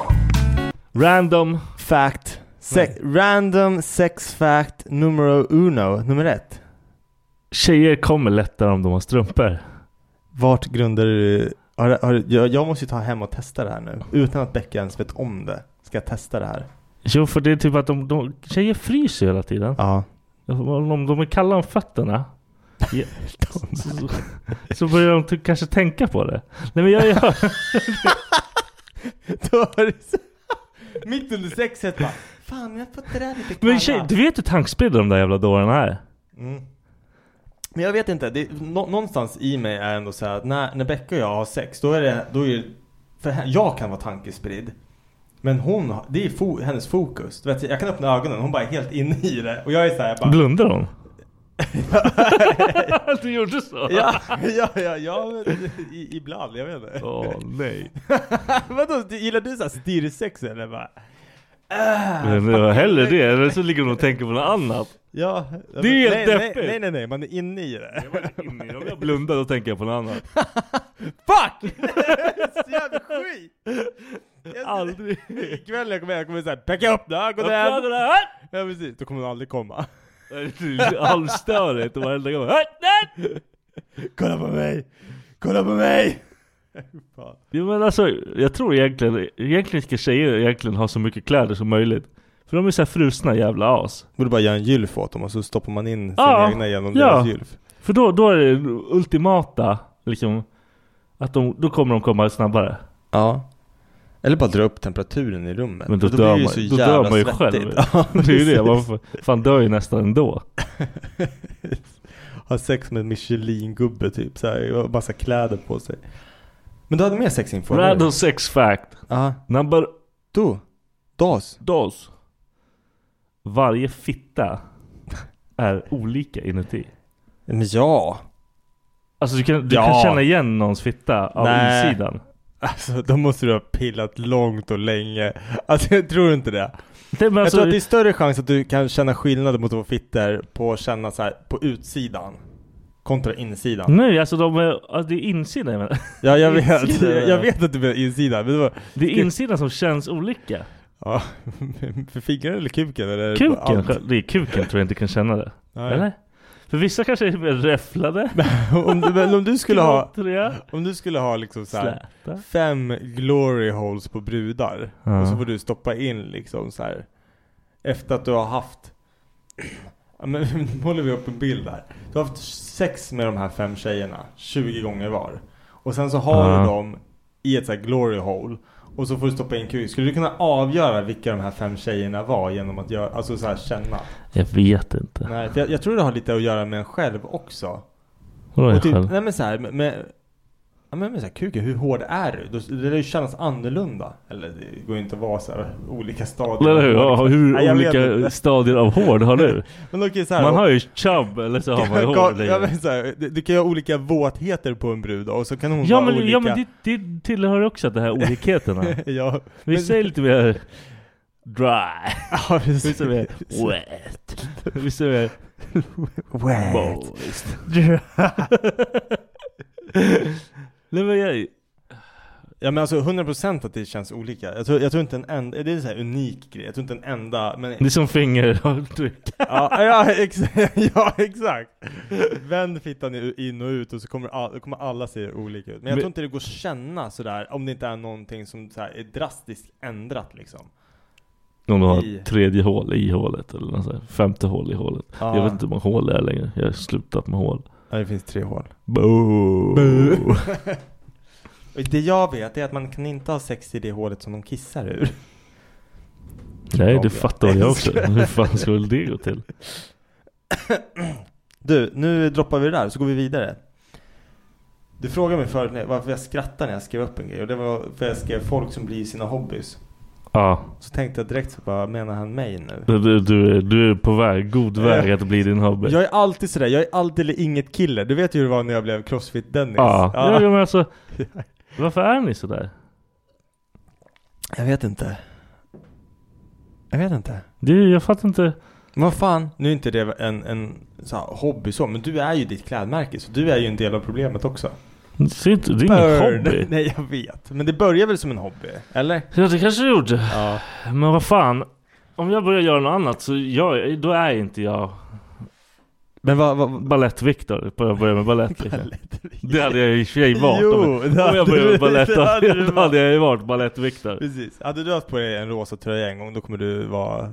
Speaker 6: Random fact. Se- random sex fact numero uno. Nummer ett.
Speaker 8: Tjejer kommer lättare om de har strumpor.
Speaker 6: Vart grundar du... Har, har, jag, jag måste ju ta hem och testa det här nu. Utan att Becka ens vet om det. Ska jag testa det här?
Speaker 8: Jo för det är typ att de, de tjejer fryser ju hela tiden.
Speaker 6: <laughs>
Speaker 8: Alltså,
Speaker 6: Ja.
Speaker 8: Om de är kalla om fötterna. Ja, så, så, så börjar de ty- kanske tänka på det. Nej men jag gör...
Speaker 6: <laughs> Mitt under sexet bara. Fan, jag fått det där lite
Speaker 8: Men tjej, du vet hur tankspridda de där jävla dårarna är?
Speaker 6: Mm. Men jag vet inte, det, nå, någonstans i mig är ändå så här att när, när Becka och jag har sex, då är det, då är det för he- jag kan vara tankespridd. Men hon, har- det är fo, hennes fokus. Du vet, jag kan öppna ögonen, hon bara är helt inne i det. Och jag är så här, jag bara...
Speaker 8: Blundar de? du gjorde så?
Speaker 6: Ja, <laughs> ja, ja, ja men, i, ibland, jag vet inte.
Speaker 8: Åh nej.
Speaker 6: <laughs> Vadå, du- gillar du såhär stirrsex eller? Bara, Ah!
Speaker 8: Men det var hellre det, eller så ligger de och tänker på något annat.
Speaker 6: ja,
Speaker 8: Det är helt
Speaker 6: nej, nej,
Speaker 8: deppigt.
Speaker 6: nej, nej, nej, man är inne i det.
Speaker 8: Jag blundar och tänker på något annat.
Speaker 6: <laughs> Fuck! Så jävla skit! Jag-
Speaker 8: Aldrig.
Speaker 6: Ikväll när jag kommer hem, jag kommer såhär packa upp ögonen!
Speaker 8: Öppna ögonen.
Speaker 6: Ja precis, då kommer hon aldrig komma. <laughs>
Speaker 8: Halvstörigt och varenda gång. "Hör, där!"
Speaker 6: Kolla på mig! Kolla på mig! <laughs>
Speaker 8: Jo men alltså, jag tror egentligen, egentligen ska tjejer egentligen ha så mycket kläder som möjligt. För de är så här frusna jävla as.
Speaker 6: Borde bara göra en gylf åt dem och så stoppar man in sin
Speaker 8: Ja,
Speaker 6: egna genom
Speaker 8: ja.
Speaker 6: deras gylf.
Speaker 8: För då, då är det ultimata, liksom, att de, då kommer de komma snabbare. <laughs>
Speaker 6: Ja. Eller bara dra upp temperaturen i rummet.
Speaker 8: Men då,
Speaker 6: Och
Speaker 8: dör,
Speaker 6: blir
Speaker 8: man,
Speaker 6: det
Speaker 8: då
Speaker 6: så jävla
Speaker 8: dör man ju
Speaker 6: svettigt. <laughs>
Speaker 8: själv.
Speaker 6: Ja,
Speaker 8: det är ju det, man
Speaker 6: precis.
Speaker 8: får- fan dör ju nästan ändå.
Speaker 6: Ha sex med en Michelin-gubbe typ, så här, och massa kläder på sig. Men du hade mer sexinfo? eller?
Speaker 8: Random sex fact.
Speaker 6: Ja.
Speaker 8: Number...
Speaker 6: Du. Dos.
Speaker 8: Dos. Varje fitta är olika inuti.
Speaker 6: Men ja.
Speaker 8: Alltså du kan, du
Speaker 6: Ja.
Speaker 8: kan känna igen någons fitta av
Speaker 6: Nej.
Speaker 8: insidan.
Speaker 6: Alltså då måste du ha pillat långt och länge. Alltså jag tror inte det.
Speaker 8: Nej, men
Speaker 6: jag
Speaker 8: alltså,
Speaker 6: tror att det är större chans att du kan känna skillnad mot två fitter på att känna så här på utsidan. Kontra insidan.
Speaker 8: Nej, alltså de är, alltså, det är insidan jag menar.
Speaker 6: Ja jag vet,
Speaker 8: Insidan,
Speaker 6: jag,
Speaker 8: ja.
Speaker 6: vet att du menar insidan. Men det var,
Speaker 8: Det är insidan som känns olika.
Speaker 6: ja, <laughs> för fingrar eller kuken eller?
Speaker 8: Kuken,
Speaker 6: allt?
Speaker 8: det är kuken tror jag inte kan känna det.
Speaker 6: Nej.
Speaker 8: Eller? För vissa kanske är mer räfflade.
Speaker 6: om, du, men om du skulle ha,
Speaker 8: knottriga.
Speaker 6: om du skulle ha liksom så här,
Speaker 8: Släta.
Speaker 6: fem glory holes på brudar.
Speaker 8: Ja.
Speaker 6: Och så får du stoppa in liksom så här. Efter att du har haft Ja, men, <laughs> nu håller vi upp en bild här. Du har haft sex med de här fem tjejerna 20 gånger var. Och sen så har
Speaker 8: Ja.
Speaker 6: du dem i ett så här glory hole. Och så får du stoppa in kuken. Skulle du kunna avgöra vilka de här fem tjejerna var genom att göra, alltså så här känna?
Speaker 8: Jag vet inte.
Speaker 6: Nej, för jag, jag tror det har lite att göra med en själv också.
Speaker 8: Vadå jag
Speaker 6: Och typ,
Speaker 8: själv?
Speaker 6: nej men så här, med, med, ja, men med så här, kuken, hur hård är du? Då- Det lär ju kännas annorlunda. Eller det går ju inte att vara så här, olika stadier. Liksom.
Speaker 8: Eller hur? Ja, hur
Speaker 6: Nej, jag vet
Speaker 8: olika
Speaker 6: inte.
Speaker 8: stadier av hår har du?
Speaker 6: Men okej, så här,
Speaker 8: Man
Speaker 6: och-
Speaker 8: har ju chub eller så har man ju hår
Speaker 6: Ka- ja,
Speaker 8: längre.
Speaker 6: men så här, du, du kan ju ha olika våtheter på en brud då, och så kan hon
Speaker 8: Ja
Speaker 6: vara
Speaker 8: men,
Speaker 6: olika
Speaker 8: ja, men det, det tillhör också de här
Speaker 6: <laughs>
Speaker 8: olikheterna.
Speaker 6: ja,
Speaker 8: Vissa är lite
Speaker 6: <laughs>
Speaker 8: mer dry.
Speaker 6: ja, precis.
Speaker 8: Vissa är
Speaker 6: <laughs>
Speaker 8: mer wet. Vissa är mer
Speaker 6: Wet. <laughs>
Speaker 8: moist. Nej men jag...
Speaker 6: Ja men alltså 100% att det känns olika. Jag tror, jag tror inte en enda, det är en sån här unik grej. Jag tror inte en enda, men...
Speaker 8: Det är som <laughs> fingeravtryck.
Speaker 6: ja, ja, exakt, <laughs> ja exakt. Vänd fittan i- in och ut och så kommer, all, kommer alla se olika ut. Men jag
Speaker 8: Men-
Speaker 6: tror inte det går att känna sådär om det inte är någonting som så här är drastiskt ändrat liksom.
Speaker 8: Om du
Speaker 6: I.
Speaker 8: har tredje hål i hålet eller något så här, femte hål i hålet.
Speaker 6: Ja.
Speaker 8: Jag vet inte hur många hål det är längre. Jag har slutat med hål.
Speaker 6: Ja, det finns tre hål.
Speaker 8: Boo.
Speaker 6: <laughs> Och det jag vet är att man kan inte ha sex i det hålet som de kissar ur.
Speaker 8: Nej,
Speaker 6: Om
Speaker 8: det fattar jag
Speaker 6: <laughs>
Speaker 8: också.
Speaker 6: älskar.
Speaker 8: Hur fan skulle det gå till?
Speaker 6: Du, nu droppar vi det där så går vi vidare. Du frågade mig förut när- varför jag skrattar när jag skrev upp en grej och det var för jag skrev folk som blir sina hobbys.
Speaker 8: Ja,
Speaker 6: Så tänkte jag direkt så bara, menar han mig nu?
Speaker 8: du, du, du, är- du är på väg, god väg att bli din hobby.
Speaker 6: Jag är alltid sådär, jag är alltid eller inget kille. Du vet ju hur det var när jag blev Crossfit-Dennis.
Speaker 8: Ja, ja. men alltså. Varför är ni sådär?
Speaker 6: Jag vet inte. Jag vet inte.
Speaker 8: Du, jag fattar inte.
Speaker 6: Men vad fan, nu är inte det en, en så här, hobby så, men du är ju ditt klädmärke så du är ju en del av problemet också.
Speaker 8: Det ser inte- det är ingen
Speaker 6: Burn.
Speaker 8: hobby.
Speaker 6: <laughs> Nej jag vet, men det börjar väl som en hobby? Eller?
Speaker 8: Ja, det kanske det gjorde.
Speaker 6: <laughs>
Speaker 8: Men vad fan. Om jag börjar göra något annat så jag, då är inte jag
Speaker 6: Men vad, vad,
Speaker 8: Balett-Viktor. Jag börjar med balett. liksom. det hade jag ju i och för sig varit.
Speaker 6: Jo,
Speaker 8: om,
Speaker 6: det
Speaker 8: om
Speaker 6: hade
Speaker 8: jag började
Speaker 6: du-
Speaker 8: med balett.
Speaker 6: <laughs> det hade du
Speaker 8: <laughs> Då hade jag ju varit balett-Viktor.
Speaker 6: Precis. Hade du haft på dig en rosa tröja en gång, då kommer du vara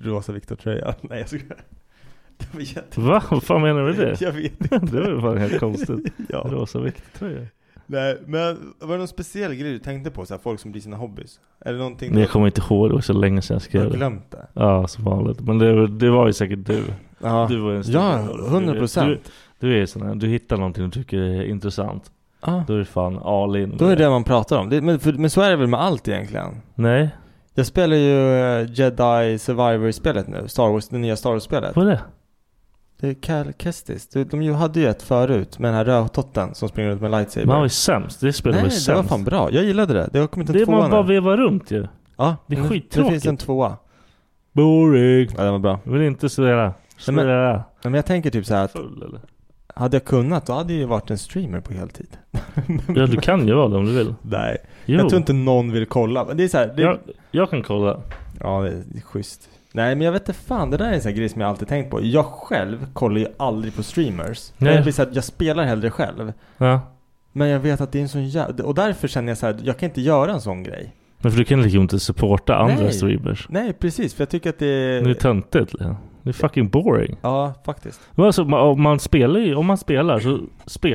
Speaker 6: rosa Viktor-tröja. <laughs> Nej jag skojar. Det var jätte...
Speaker 8: Va? Vad fan menar du med
Speaker 6: <laughs>
Speaker 8: det?
Speaker 6: Jag vet
Speaker 8: Det var ju fan helt konstigt.
Speaker 6: <laughs> Ja.
Speaker 8: Rosa Viktor-tröja.
Speaker 6: Nej, men var det någon speciell grej du tänkte på? Så här, folk som blir sina hobbys? Är det någonting
Speaker 8: Men jag kommer inte ihåg, det var så länge sedan jag
Speaker 6: du
Speaker 8: skrev
Speaker 6: har glömt det?
Speaker 8: Ja, som vanligt. Men det, det var ju säkert du.
Speaker 6: Ja.
Speaker 8: Du var ju en stor
Speaker 6: Ja,
Speaker 8: del av det.
Speaker 6: 100%.
Speaker 8: Du, du är sån här, du hittar någonting du tycker är intressant.
Speaker 6: Ja.
Speaker 8: Då är det fan all in.
Speaker 6: Då är det det man pratar om. Det, men, för, men så är det väl med allt egentligen?
Speaker 8: Nej,
Speaker 6: Jag spelar ju eh, Jedi Survivor-spelet nu, Star Wars, det nya Star Wars-spelet.
Speaker 8: vad är det?
Speaker 6: Det är Cal Kestis. Du, de ju hade ju ett förut med den här rövtotten som springer runt med lightsaber.
Speaker 8: Man var ju sämst. Det spelet
Speaker 6: Nej,
Speaker 8: var ju
Speaker 6: det var
Speaker 8: sämst.
Speaker 6: fan bra. Jag gillade det. Det har kommit en
Speaker 8: det är
Speaker 6: tvåa
Speaker 8: man
Speaker 6: nu.
Speaker 8: bara vevar runt ju.
Speaker 6: Ja,
Speaker 8: Det är
Speaker 6: men Det
Speaker 8: skittråkigt.
Speaker 6: finns en tvåa.
Speaker 8: Boring.
Speaker 6: Ja, den var bra.
Speaker 8: Jag vill inte sådär.
Speaker 6: men-
Speaker 8: Sådär.
Speaker 6: Men jag tänker typ så här att
Speaker 8: Full eller?
Speaker 6: hade jag kunnat då hade jag ju varit en streamer på heltid.
Speaker 8: Ja, du kan ju vara det om du vill.
Speaker 6: <laughs> Nej.
Speaker 8: Jo.
Speaker 6: Jag tror inte någon vill kolla. Men det är så här, det,
Speaker 8: Jag, jag kan kolla.
Speaker 6: Ja, det är schysst. Nej, men jag vet inte fan. Det där är en sån här grej som jag alltid tänkt på. Jag själv kollar ju aldrig på streamers.
Speaker 8: Nej.
Speaker 6: Jag, blir så här, jag spelar hellre själv.
Speaker 8: Ja.
Speaker 6: Men jag vet att det är en sån jävla... Och därför känner jag så här, jag kan inte göra en sån grej.
Speaker 8: Men för du kan liksom inte supporta andra
Speaker 6: Nej. Eh.
Speaker 8: streamers.
Speaker 6: Nej, precis. För jag tycker att det...
Speaker 8: Det är töntigt. liksom. Det är fucking boring.
Speaker 6: Ja, faktiskt.
Speaker 8: Men Alltså, ma- om man spelar ju, om man spelar så spelar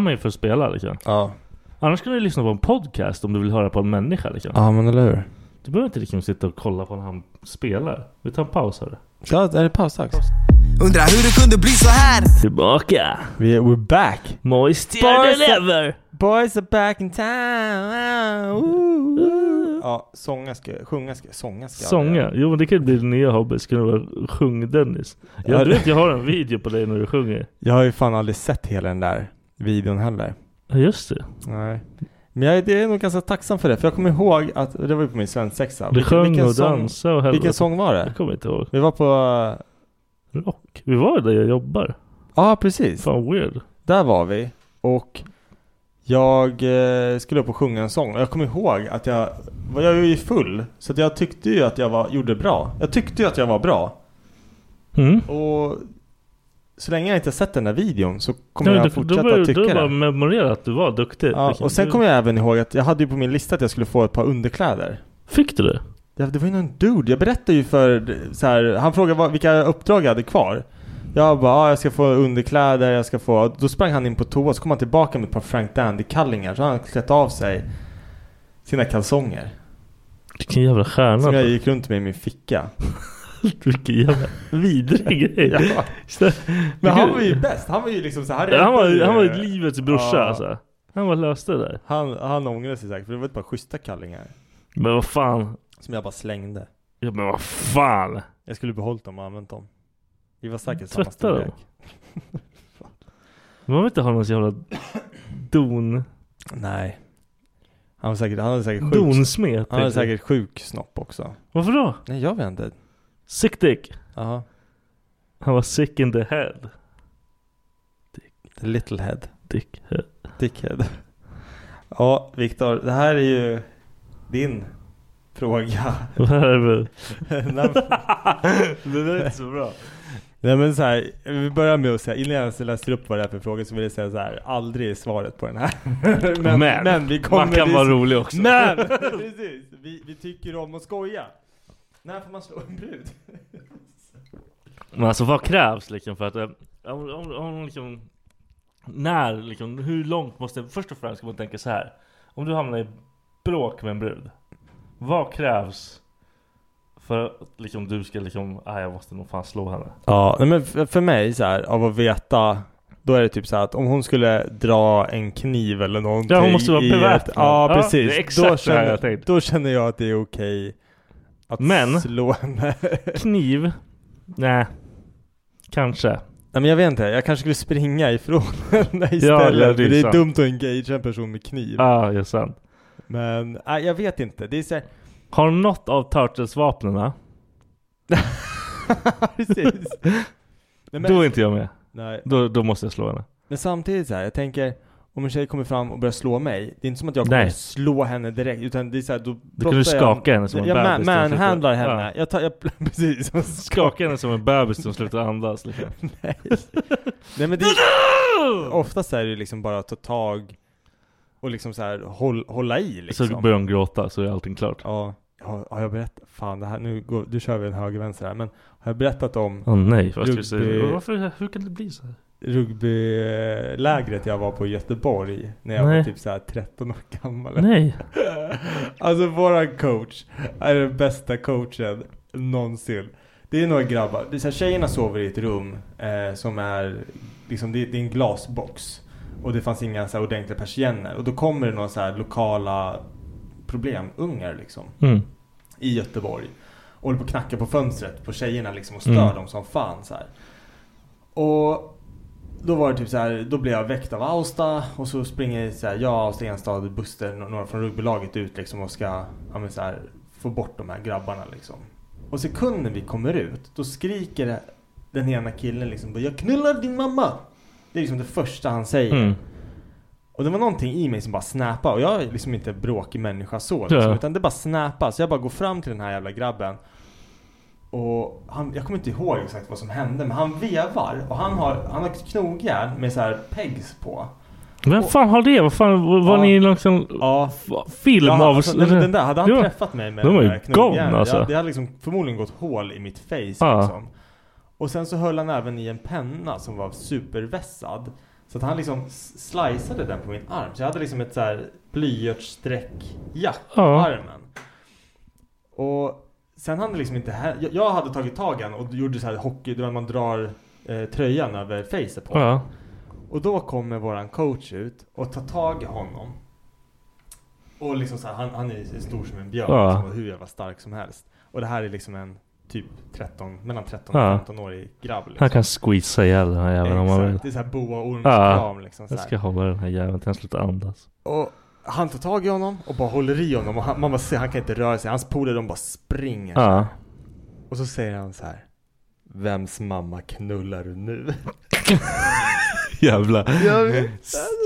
Speaker 8: man ju för att spela liksom.
Speaker 6: Ja.
Speaker 8: Annars kan du lyssna på en podcast om du vill höra på en människa liksom.
Speaker 6: Ja, men eller hur?
Speaker 8: Du behöver inte liksom sitta och kolla på när han spelar. Vi tar en paus här.
Speaker 6: Ja, är det pausdags?
Speaker 9: Undrar hur det kunde bli så här.
Speaker 8: Tillbaka!
Speaker 6: Vi är, we're back!
Speaker 8: Moist
Speaker 6: boys are back in town! Ja, sånga ska, sjunga ska, sånga ska
Speaker 8: Sånga. Jo men det kan ju bli din nya hobby. Ska du vara sjung-Dennis?
Speaker 6: Ja,
Speaker 8: Ja, du
Speaker 6: det-
Speaker 8: vet jag har en video på dig när du sjunger.
Speaker 6: Jag har ju fan aldrig sett hela den där videon heller.
Speaker 8: Ja just det.
Speaker 6: Nej. Men jag det är nog ganska tacksam för det, för jag kommer ihåg att, det var ju på min svensexa.
Speaker 8: Du sjöng och
Speaker 6: sång-
Speaker 8: dansade och helvete.
Speaker 6: Vilken sång var det?
Speaker 8: Jag kommer inte ihåg.
Speaker 6: Vi var på,
Speaker 8: Rock. Vi var ju där jag jobbar.
Speaker 6: ja precis.
Speaker 8: Fan weird.
Speaker 6: Där var vi. Och jag eh, skulle upp och sjunga en sång. Och jag kommer ihåg att jag, var jag var ju full. Så att jag tyckte ju att jag var, gjorde bra. Jag tyckte ju att jag var bra.
Speaker 8: Mm.
Speaker 6: Och så länge jag inte har sett den där videon så kommer
Speaker 8: Ja,
Speaker 6: jag
Speaker 8: du-
Speaker 6: fortsätta
Speaker 8: du, var-
Speaker 6: tycka
Speaker 8: Du
Speaker 6: det.
Speaker 8: bara memorera att du var duktig.
Speaker 6: Ja,
Speaker 8: Vilken-
Speaker 6: och sen
Speaker 8: du-
Speaker 6: kommer jag även ihåg att jag hade ju på min lista att jag skulle få ett par underkläder.
Speaker 8: Fick du det?
Speaker 6: Ja, det var ju någon dude. Jag berättade ju för så här, han frågade vad, vilka uppdrag jag hade kvar. Jag bara, ah, jag ska få underkläder, jag ska få... Då sprang han in på toa, så kom han tillbaka med ett par Frank Dandy-kallingar. Så hade han klätt av sig sina kalsonger.
Speaker 8: Vilken jävla stjärna.
Speaker 6: Som jag gick runt med i min ficka.
Speaker 8: <laughs> Vilken jävla vidrig grej.
Speaker 6: Ja.
Speaker 8: Så-
Speaker 6: Men han
Speaker 8: Gud.
Speaker 6: var ju bäst. Han var ju liksom så här.
Speaker 8: Ja, han var-
Speaker 6: räddade ju-
Speaker 8: han var ju livets brorsa,
Speaker 6: Ja.
Speaker 8: alltså. Han var löste det där.
Speaker 6: Han, han ångrade sig säkert, för det var ett par schyssta kallingar.
Speaker 8: Men vad fan.
Speaker 6: Som jag bara slängde.
Speaker 8: Ja men vad fan.
Speaker 6: Jag skulle behållit dem och använt dem. Vi var säkert samma
Speaker 8: Tvätta dem.
Speaker 6: storlek.
Speaker 8: Man vill inte ha någon jävla don.
Speaker 6: Nej. Han var säkert, han hade säkert sjuk.
Speaker 8: Donsmet,
Speaker 6: Han hade
Speaker 8: tänkte jag.
Speaker 6: säkert sjuk snopp också.
Speaker 8: Varför då?
Speaker 6: Nej jag vet inte.
Speaker 8: Sick dick.
Speaker 6: Jaha.
Speaker 8: Han var sick in the head.
Speaker 6: The little head.
Speaker 8: Dickhead.
Speaker 6: Dickhead. Ja, Viktor. Det här är ju din fråga.
Speaker 8: Vad är det?
Speaker 6: <laughs> Nej, men-
Speaker 8: Det där är inte så bra.
Speaker 6: Nej men så här, vi börjar med att säga, innan jag ens läser upp vad det är för fråga så vill jag säga så här, aldrig är svaret på den <laughs> här.
Speaker 8: Men,
Speaker 6: vi kommer
Speaker 8: man kan
Speaker 6: dit-
Speaker 8: vara rolig också.
Speaker 6: <laughs> Men! Precis, vi, vi tycker om att skoja. När får man slå en brud?
Speaker 8: Men alltså vad krävs liksom för att... eh, Om, om, om liksom, när liksom, hur långt måste... Först och främst ska man tänka så här. Om du hamnar i bråk med en brud. Vad krävs för att liksom, du ska liksom... Ah, jag måste nog fan slå henne.
Speaker 6: Ja, nej, men för, för mig så här, av att veta då är det typ så här att om hon skulle dra en kniv eller någonting
Speaker 8: Ja, hon måste vara
Speaker 6: i ett-
Speaker 8: beväpnad.
Speaker 6: Ja,
Speaker 8: Ja,
Speaker 6: precis.
Speaker 8: det är exakt
Speaker 6: då,
Speaker 8: det här
Speaker 6: känner,
Speaker 8: jag tänkte.
Speaker 6: då känner jag att det är okej att
Speaker 8: Men-
Speaker 6: slå henne.
Speaker 8: Kniv? Nej. Kanske.
Speaker 6: Nej men jag vet inte, jag kanske skulle springa ifrån <laughs> henne istället.
Speaker 8: ja, det är
Speaker 6: för det är
Speaker 8: sant.
Speaker 6: dumt att engagera en person med kniv.
Speaker 8: Ja, ah, det är sant.
Speaker 6: Men, nej jag vet inte. Det
Speaker 8: <laughs>
Speaker 6: är så här,
Speaker 8: Har något av Turtles-vapnen?
Speaker 6: <laughs> precis. Nej, men-
Speaker 8: Då är inte jag med.
Speaker 6: Nej.
Speaker 8: Då, då måste jag slå henne.
Speaker 6: Men samtidigt så här, jag tänker om en tjej kommer fram och börjar slå mig, det är inte som att jag kommer
Speaker 8: Nej.
Speaker 6: slå henne direkt utan det är så här, då
Speaker 8: kan du
Speaker 6: brottar jag-
Speaker 8: skaka henne som en
Speaker 6: Jag man,
Speaker 8: bebis till slut.
Speaker 6: manhandlar
Speaker 8: Ja.
Speaker 6: henne. Jag tar, jag, <laughs>
Speaker 8: <laughs>
Speaker 6: precis.
Speaker 8: Skaka henne som en bebis som slutar andas liksom.
Speaker 6: Nej men det oftast är det ju liksom bara att ta tag och liksom så här håll, hålla i liksom.
Speaker 8: Så börjar hon gråta så är allting klart.
Speaker 6: Ja. Har, har jag berättat, fan det här, nu, går, nu kör vi en höger-vänster här, men har jag berättat om
Speaker 8: Åh nej, vad ska du säga?
Speaker 6: rugby,
Speaker 8: Varför, hur kan det bli så här?
Speaker 6: rugbylägret jag var på i Göteborg när jag var
Speaker 8: Nej.
Speaker 6: typ så här 13 år gammal?
Speaker 8: Nej.
Speaker 6: <laughs> Alltså våran coach är den bästa coachen någonsin. Det är några grabbar. Det är så här, tjejerna sover i ett rum eh, som är liksom, det, det är en glasbox. Och det fanns inga så här, ordentliga persienner. Och då kommer det några så här, lokala problemungar liksom.
Speaker 8: Mm.
Speaker 6: I Göteborg. Och håller på och knackar på fönstret på tjejerna liksom och stör
Speaker 8: Mm.
Speaker 6: dem som fan så här. Och då var det typ så här, då blev jag väckt av Austa och så springer så här, jag, Austa Enstad, Buster, no- några från rugbylaget ut liksom och ska ja, men så här, få bort de här grabbarna liksom. Och sekunden vi kommer ut, då skriker den ena killen liksom bara, Jag knullar din mamma! Det är liksom det första han säger.
Speaker 8: Mm.
Speaker 6: Och det var någonting i mig som bara snappade och jag är liksom inte en bråkig människa så liksom,
Speaker 8: Ja.
Speaker 6: utan det bara snappade. Så jag bara går fram till den här jävla grabben och han, jag kommer inte ihåg exakt vad som hände men han vevar och han har, han har knogjärn med så här pegs på.
Speaker 8: Vem fan har det? Vad fan, var, var
Speaker 6: Ja.
Speaker 8: ni liksom...
Speaker 6: Ja.
Speaker 8: Film
Speaker 6: ja,
Speaker 8: av...
Speaker 6: alltså, nej, men den där, hade han
Speaker 8: Det var-
Speaker 6: träffat mig med
Speaker 8: De var
Speaker 6: den
Speaker 8: ju
Speaker 6: där knogjärnet,
Speaker 8: gone,
Speaker 6: det-
Speaker 8: alltså.
Speaker 6: det hade liksom förmodligen gått hål i mitt face
Speaker 8: Ja.
Speaker 6: liksom. Och sen så höll han även i en penna som var supervässad. Så att han liksom s- sliceade den på min arm. Så jag hade liksom ett så här blyertsstreckjack på
Speaker 8: Ja.
Speaker 6: armen. Och sen hade liksom inte hä- jag, jag hade tagit tag i han och gjorde så här hockey, där man drar eh, tröjan över facet på
Speaker 8: Ja.
Speaker 6: Och då kommer våran coach ut och tar tag i honom. Och liksom så här, han, han är stor som en björn
Speaker 8: Ja.
Speaker 6: liksom, och hur jävla stark som helst. Och det här är liksom en typ 13, mellan 13 och
Speaker 8: Ja.
Speaker 6: 15-årig grabb. Liksom.
Speaker 8: Han kan squeeza ihjäl den här jäveln om man vill.
Speaker 6: Exakt, det är så här boa orms kram, liksom, så
Speaker 8: jag
Speaker 6: här.
Speaker 8: ska hålla den här jäveln tills han slutar andas.
Speaker 6: Och han tar tag i honom och bara håller i honom och han, man bara ser, han kan inte röra sig. Hans polare de bara springer. så här.
Speaker 8: Ja.
Speaker 6: Och så säger han så här. Vems mamma knullar du nu?
Speaker 8: Jävla...
Speaker 6: Jag vet,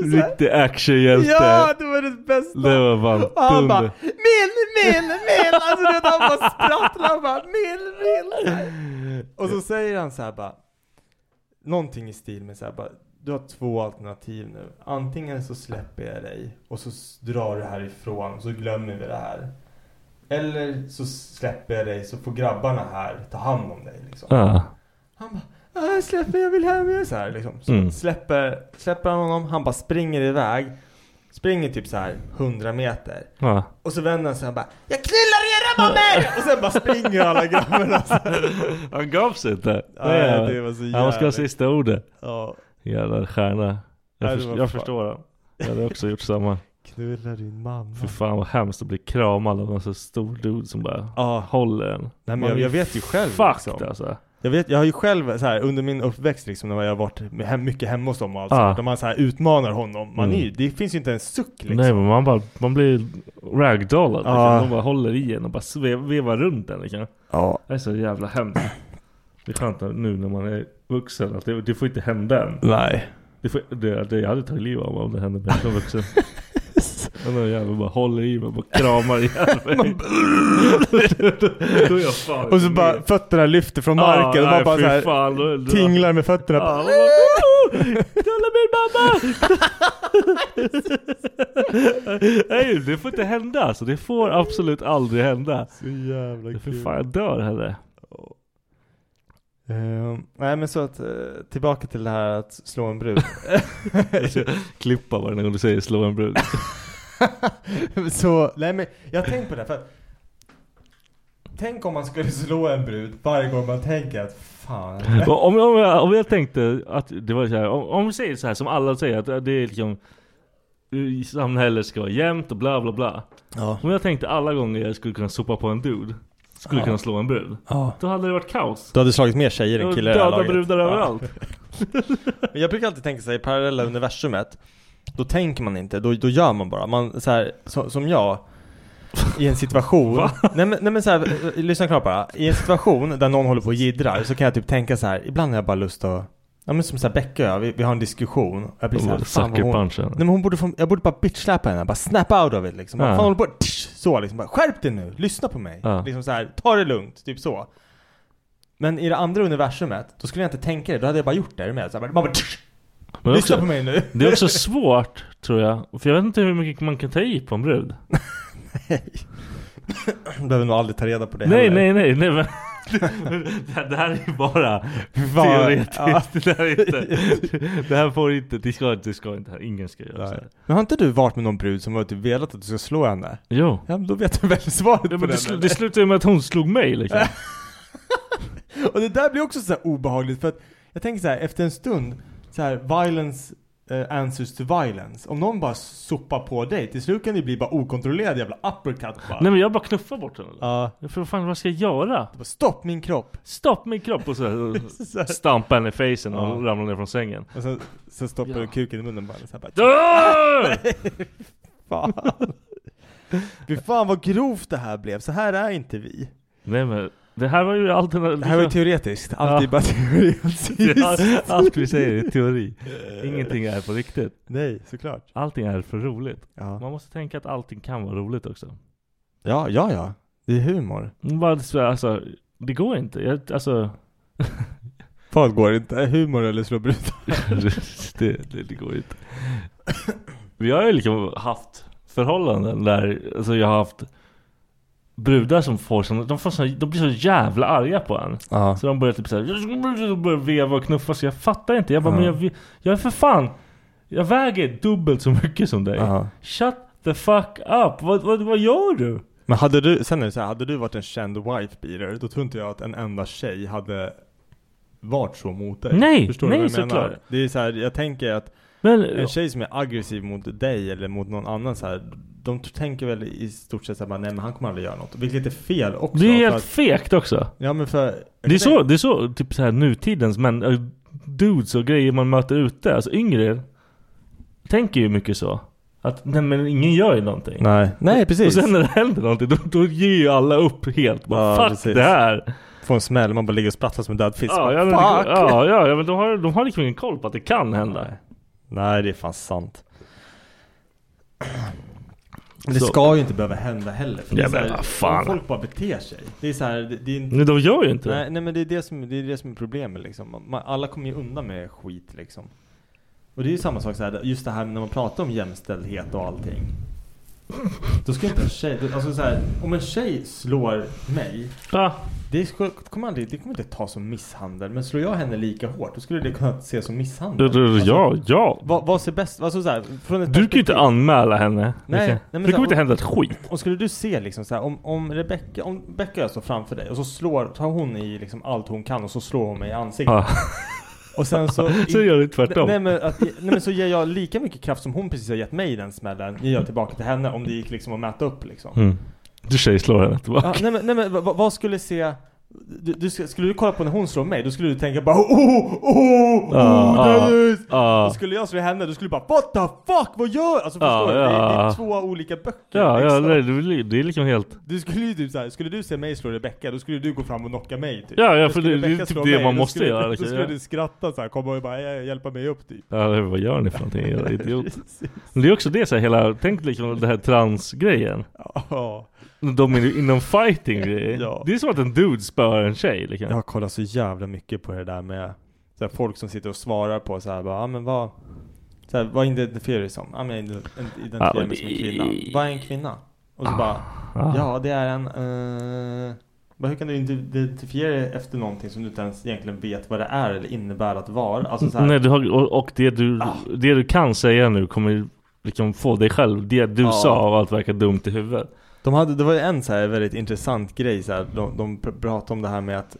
Speaker 8: Riktig actionhjälte.
Speaker 6: Ja, det var det bästa!
Speaker 8: Det var fan
Speaker 6: och han bara
Speaker 8: dunder.
Speaker 6: min, min, min! Alltså du vet, han bara sprattlar och bara min, min! Och så säger han så här bara någonting i stil med så här, bara, du har två alternativ nu. Antingen så släpper jag dig och så s- drar du härifrån och så glömmer vi det här. Eller så släpper jag dig så får grabbarna här ta hand om dig liksom.
Speaker 8: Ja.
Speaker 6: Han bara, "Ah, släpp mig, jag vill hem, jag är så här liksom. Så
Speaker 8: Mm.
Speaker 6: släpper, släpper han honom, han bara springer iväg. Springer typ så här 100 meter.
Speaker 8: Ja.
Speaker 6: Och så vänder han sig och bara Jag knullar era <laughs> mammor! Och sen bara springer alla <laughs> grabbarna så här.
Speaker 8: <laughs> Han gav sig inte.
Speaker 6: Nej, det var så
Speaker 8: Han måste ha
Speaker 6: jävligt.
Speaker 8: sista ordet.
Speaker 6: Ja.
Speaker 8: Jävla stjärna. Jag,
Speaker 6: Nej, det
Speaker 8: förs-
Speaker 6: var
Speaker 8: jag
Speaker 6: fan-
Speaker 8: förstår honom. Jag hade också gjort samma.
Speaker 6: Knullar din mamma.
Speaker 8: Fy fan vad hemskt att bli kramad av en så stor dude som bara håller en.
Speaker 6: Nej, men
Speaker 8: Man
Speaker 6: jag,
Speaker 8: är
Speaker 6: jag vet ju själv
Speaker 8: Fucked
Speaker 6: liksom.
Speaker 8: alltså.
Speaker 6: Jag, vet, jag har ju själv så här, under min uppväxt liksom, när jag har varit med hem, mycket hemma hos dem och allt
Speaker 8: Ah.
Speaker 6: sånt, De man så här utmanar honom. Man
Speaker 8: Mm.
Speaker 6: är ju, det finns ju inte en suck liksom.
Speaker 8: Nej men man, bara, man blir ragdollad. Liksom.
Speaker 6: Ja.
Speaker 8: De bara håller i en och bara sve, vevar runt en. Liksom.
Speaker 6: Ja.
Speaker 8: Det är så jävla hemskt. Det är skönt att nu när man är vuxen att det, det får inte hända än.
Speaker 6: Nej.
Speaker 8: Det får, det, det, jag hade tagit livet av mig om det hände mig som vuxen.
Speaker 6: <laughs>
Speaker 8: Men den jäveln bara håller i mig och bara kramar ihjäl mig. Då är jag fan
Speaker 6: Och så bara fötterna lyfter från
Speaker 8: Ah,
Speaker 6: marken och
Speaker 8: nej,
Speaker 6: man bara
Speaker 8: fy
Speaker 6: så här,
Speaker 8: fan, då- då-
Speaker 6: tinglar med fötterna.
Speaker 8: Ja,
Speaker 6: Bara,
Speaker 8: vad- Knulla min mamma! Nej det får inte hända alltså. Det får absolut aldrig hända.
Speaker 6: <laughs> Så jävla
Speaker 8: För
Speaker 6: kul.
Speaker 8: fan jag dör hellre.
Speaker 6: Ehm, nej men så att, eh, tillbaka till det här att slå en brud.
Speaker 8: Klippa varje gång du säger slå en brud.
Speaker 6: <laughs> så, nej men jag har tänkt på det här, för att Tänk om man skulle slå en brud varje gång man tänker att
Speaker 8: <laughs>
Speaker 6: fan.
Speaker 8: Och om, om, jag, om jag tänkte att det var så här, om, om vi säger så här som alla säger att det är liksom i Samhället ska vara jämnt och bla bla bla.
Speaker 6: Ja.
Speaker 8: Om jag tänkte alla gånger jag skulle kunna sopa på en dude, skulle
Speaker 6: Ja.
Speaker 8: kunna slå en brud.
Speaker 6: Ja.
Speaker 8: Då hade det varit kaos.
Speaker 6: Du hade slagit mer tjejer
Speaker 8: Och
Speaker 6: än killar i det här
Speaker 8: Döda
Speaker 6: laget.
Speaker 8: brudar
Speaker 6: Ja.
Speaker 8: överallt.
Speaker 6: Men jag brukar alltid tänka sig i parallella universumet Då tänker man inte, då, då gör man bara. Man, så här, så, som jag I en situation Nej men, nej, men så här, eh, lyssna klart bara I en situation där någon håller på och jiddrar så kan jag typ tänka så här Ibland har jag bara lust att Ja men som såhär Becka och jag, vi, vi har en diskussion och jag blir
Speaker 8: Och
Speaker 6: såhär
Speaker 8: bara
Speaker 6: Fan vad
Speaker 8: sucker
Speaker 6: hon,
Speaker 8: punchen.
Speaker 6: nej, men hon borde få, jag borde bara bitchsläpa henne, bara snap out of it liksom bara,
Speaker 8: Ja.
Speaker 6: Fan håller på tsch, Så liksom bara, skärp dig nu, lyssna på mig
Speaker 8: Ja.
Speaker 6: Liksom såhär, ta det lugnt, typ så men i det andra universumet, då skulle jag inte tänka det. Då hade jag bara gjort det. Är du med? Så här, man bara...
Speaker 8: Men
Speaker 6: Lyssna
Speaker 8: också-
Speaker 6: på mig nu. <laughs>
Speaker 8: Det är också svårt tror jag. För jag vet inte hur mycket man kan ta i på en brud.
Speaker 6: Du behöver nog aldrig ta reda på det
Speaker 8: nej,
Speaker 6: heller.
Speaker 8: nej nej nej men. <laughs> det, det här är ju bara
Speaker 6: Fan,
Speaker 8: teoretiskt.
Speaker 6: ja.
Speaker 8: <laughs> Det, här är inte, <laughs> det här får inte, det ska, det ska inte, ingen ska göra så här.
Speaker 6: Men har inte du varit med någon brud som har typ velat att du ska slå henne?
Speaker 8: Jo.
Speaker 6: Ja, men då vet du väl svaret på
Speaker 8: Men det,
Speaker 6: den.
Speaker 8: sl-
Speaker 6: eller?
Speaker 8: det slutade ju med att hon slog mig liksom.
Speaker 6: Och det där blir också så här obehagligt för att jag tänker så här, efter en stund, så här, violence eh, answers to violence. Om någon bara sopar på dig, till slut kan det bli bara okontrollerad jävla uppercut bara.
Speaker 8: Nej men jag bara knuffar bort henne.
Speaker 6: Ja.
Speaker 8: För vad fan vad ska jag göra?
Speaker 6: Stopp
Speaker 8: <laughs>
Speaker 6: min kropp!
Speaker 8: Stopp min kropp! Och så <laughs> här, stampa henne i facen och
Speaker 6: Ja.
Speaker 8: ramla ner från <laughs> sängen.
Speaker 6: Och sen, sen stoppar du kuken i munnen bara. Så här,
Speaker 8: <laughs>
Speaker 6: bara
Speaker 8: Dö!
Speaker 6: Nej, fan. Fy fan vad grovt det här blev. Så här är inte vi.
Speaker 8: Nej men det här var ju alternativt.
Speaker 6: Det här var ju teoretiskt. Allt är bara <laughs> teoretiskt.
Speaker 8: Ja, Allt vi säger är <laughs> teori. Ingenting är på riktigt.
Speaker 6: Nej, såklart.
Speaker 8: Allting är för roligt.
Speaker 6: Ja.
Speaker 8: Man måste tänka att allting kan vara roligt också.
Speaker 6: Ja, ja, ja. Det är humor.
Speaker 8: Bara så- Alltså, det går inte. Jag, alltså,
Speaker 6: Vad går inte? Humor eller slå brudar?
Speaker 8: det, det, det går inte. Vi har ju liksom haft förhållanden där alltså jag har haft brudar som får sån, de, får sån, de blir så jävla arga på en.
Speaker 6: Ja.
Speaker 8: Så de börjar typ såhär, de börjar veva och knuffa så jag fattar inte. Jag bara,
Speaker 6: Ja.
Speaker 8: men jag, vi- jag är för fan, jag väger dubbelt så mycket som dig.
Speaker 6: Ja.
Speaker 8: Shut the fuck up, vad, vad, vad gör du?
Speaker 6: Men hade du, sen är det så här, hade du varit en känd wife beater, då tror inte jag att en enda tjej hade varit så mot dig.
Speaker 8: Nej,
Speaker 6: Förstår
Speaker 8: nej,
Speaker 6: du vad jag menar?
Speaker 8: såklart.
Speaker 6: Det är så här, jag tänker att
Speaker 8: Men-
Speaker 6: en tjej som är aggressiv mot dig eller mot någon annan så här, de t- tänker väl i stort sett såhär, nej men han kommer aldrig göra något. Vilket är fel också.
Speaker 8: Det är
Speaker 6: för
Speaker 8: helt
Speaker 6: att-
Speaker 8: fegt också.
Speaker 6: Ja men för...
Speaker 8: Det är så, det är så typ så här nutidens men äh, dudes och grejer man möter ute, alltså yngre tänker ju mycket så. Att nej men ingen gör ju någonting.
Speaker 6: Nej, nej precis.
Speaker 8: Och sen när det händer någonting då, då ger ju alla upp helt. Bara,
Speaker 6: Ja,
Speaker 8: fuck
Speaker 6: precis.
Speaker 8: det här.
Speaker 6: Får en smäll, man bara ligger och sprattlar som en död fisk.
Speaker 8: Ja,
Speaker 6: Bara,
Speaker 8: ja, men,
Speaker 6: fuck!
Speaker 8: ja, ja, ja, men de har, de har liksom ingen koll på att det kan hända.
Speaker 6: Nej, det är fan sant. Men det
Speaker 8: Så-
Speaker 6: ska ju inte behöva hända heller. För det är
Speaker 8: Ja,
Speaker 6: så
Speaker 8: men
Speaker 6: här,
Speaker 8: vad fan. Mm,
Speaker 6: om Folk bara beter sig. Det är så här, det, det är inte...
Speaker 8: Nej, de gör ju inte det.
Speaker 6: nej, nej men det är det som, det är, det som är problemet liksom. Man, alla kommer ju undan med skit liksom. Och det är ju samma sak så här, just det här när man pratar om jämställdhet och allting. Då ska inte en tjej, då- alltså så här, om en tjej slår mig. Det, ska, det, kommer aldrig, det kommer inte ta som misshandel. Men slår jag henne lika hårt, då skulle det kunna ses som misshandel. Alltså,
Speaker 8: Ja, ja.
Speaker 6: Vad, vad ser bäst, alltså så här, från ett
Speaker 8: Du kan ju inte anmäla henne.
Speaker 6: Nej,
Speaker 8: Micke.
Speaker 6: nej, men
Speaker 8: det
Speaker 6: så-
Speaker 8: kommer inte
Speaker 6: och-
Speaker 8: hända ett skit.
Speaker 6: Och skulle du se liksom så här, om, om Rebecca, om Becka och jag står framför dig och så slår, tar hon i liksom allt hon kan och så slår hon mig i ansiktet.
Speaker 8: Ja.
Speaker 6: Och sen så...
Speaker 8: <laughs> Så gör du tvärtom.
Speaker 6: Nej men, att, nej men så ger jag lika mycket kraft som hon precis har gett mig i den smällen, ger jag tillbaka till henne om det gick liksom att mäta upp liksom.
Speaker 8: Mm. Du tjejslår henne tillbaka.
Speaker 6: Ja, nej men, nej, men vad, vad- vad skulle se... Du, du, ska- skulle du kolla på när hon slår mig, då skulle du tänka bara oh, oh, oh,
Speaker 8: Ja,
Speaker 6: nice!
Speaker 8: ja.
Speaker 6: Och skulle jag slå henne, då skulle du bara what the fuck, vad gör Alltså
Speaker 8: Ja,
Speaker 6: förstår du? Det, är- det är
Speaker 8: ja.
Speaker 6: två olika böcker
Speaker 8: Ja, ja
Speaker 6: liksom.
Speaker 8: nej, det, är- det är liksom helt...
Speaker 6: Du skulle ju typ såhär, skulle du se mig slå Rebecca, då skulle du gå fram och knocka mig typ.
Speaker 8: Ja, ja,
Speaker 6: Då
Speaker 8: för
Speaker 6: skulle
Speaker 8: det- det är
Speaker 6: Rebecca
Speaker 8: typ
Speaker 6: slå
Speaker 8: det
Speaker 6: mig,
Speaker 8: man
Speaker 6: då
Speaker 8: måste
Speaker 6: skulle,
Speaker 8: göra,
Speaker 6: Då
Speaker 8: liksom,
Speaker 6: skulle
Speaker 8: ja.
Speaker 6: du skratta såhär, komma och bara "Eh, hjälpa mig upp typ.
Speaker 8: Ja, det- vad gör ni för någonting? Jävla
Speaker 6: <laughs>
Speaker 8: idiot. Men det är också det så här, hela, tänk liksom den här transgrejen.
Speaker 6: Ja.
Speaker 8: De är inom
Speaker 6: <laughs>
Speaker 8: fighting grejer. Det är som att en dude spöar en tjej liksom.
Speaker 6: Jag har kollat så jävla mycket på det där med så här, folk som sitter och svarar på såhär bara, ah, men vad, så här, vad identifierar du dig som? Ja men jag ident-
Speaker 8: Ja,
Speaker 6: identifierar
Speaker 8: men
Speaker 6: mig som en
Speaker 8: det-
Speaker 6: kvinna. Vad är en kvinna? Och så
Speaker 8: Ah,
Speaker 6: bara,
Speaker 8: ah.
Speaker 6: ja det är en, eh, bara, hur kan du inte identifiera dig efter någonting som du inte ens egentligen vet vad det är eller innebär att vara? Alltså så här, Ah.
Speaker 8: Nej, du har, och, och det, du, det du kan säga nu kommer liksom få dig själv, det du
Speaker 6: Ja.
Speaker 8: sa och allt verkar dumt i huvudet.
Speaker 6: De hade, det var ju en så här väldigt intressant grej så här, de, de pr- pratade om det här med att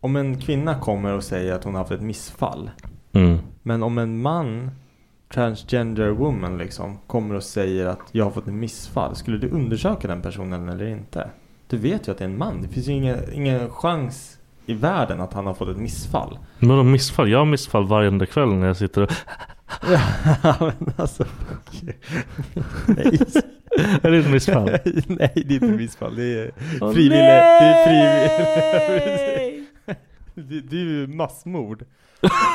Speaker 6: om en kvinna kommer och säger att hon har haft ett missfall.
Speaker 8: Mm.
Speaker 6: Men om en man, transgender woman liksom, kommer och säger att jag har fått ett missfall. Skulle du undersöka den personen eller inte? Du vet ju att det är en man. Det finns ju ingen, ingen chans i världen att han har fått ett missfall.
Speaker 8: Men de missfall? Jag har missfall varje kväll när jag sitter och...
Speaker 6: Ja,
Speaker 8: <laughs>
Speaker 6: men alltså fuck you. Nej.
Speaker 8: Är det ett missfall?
Speaker 6: <laughs> Nej det är inte missfall. Det är
Speaker 8: Åh,
Speaker 6: <laughs> frivillig.
Speaker 8: nej!
Speaker 6: Det är frivillig. <laughs> det, det är ju massmord.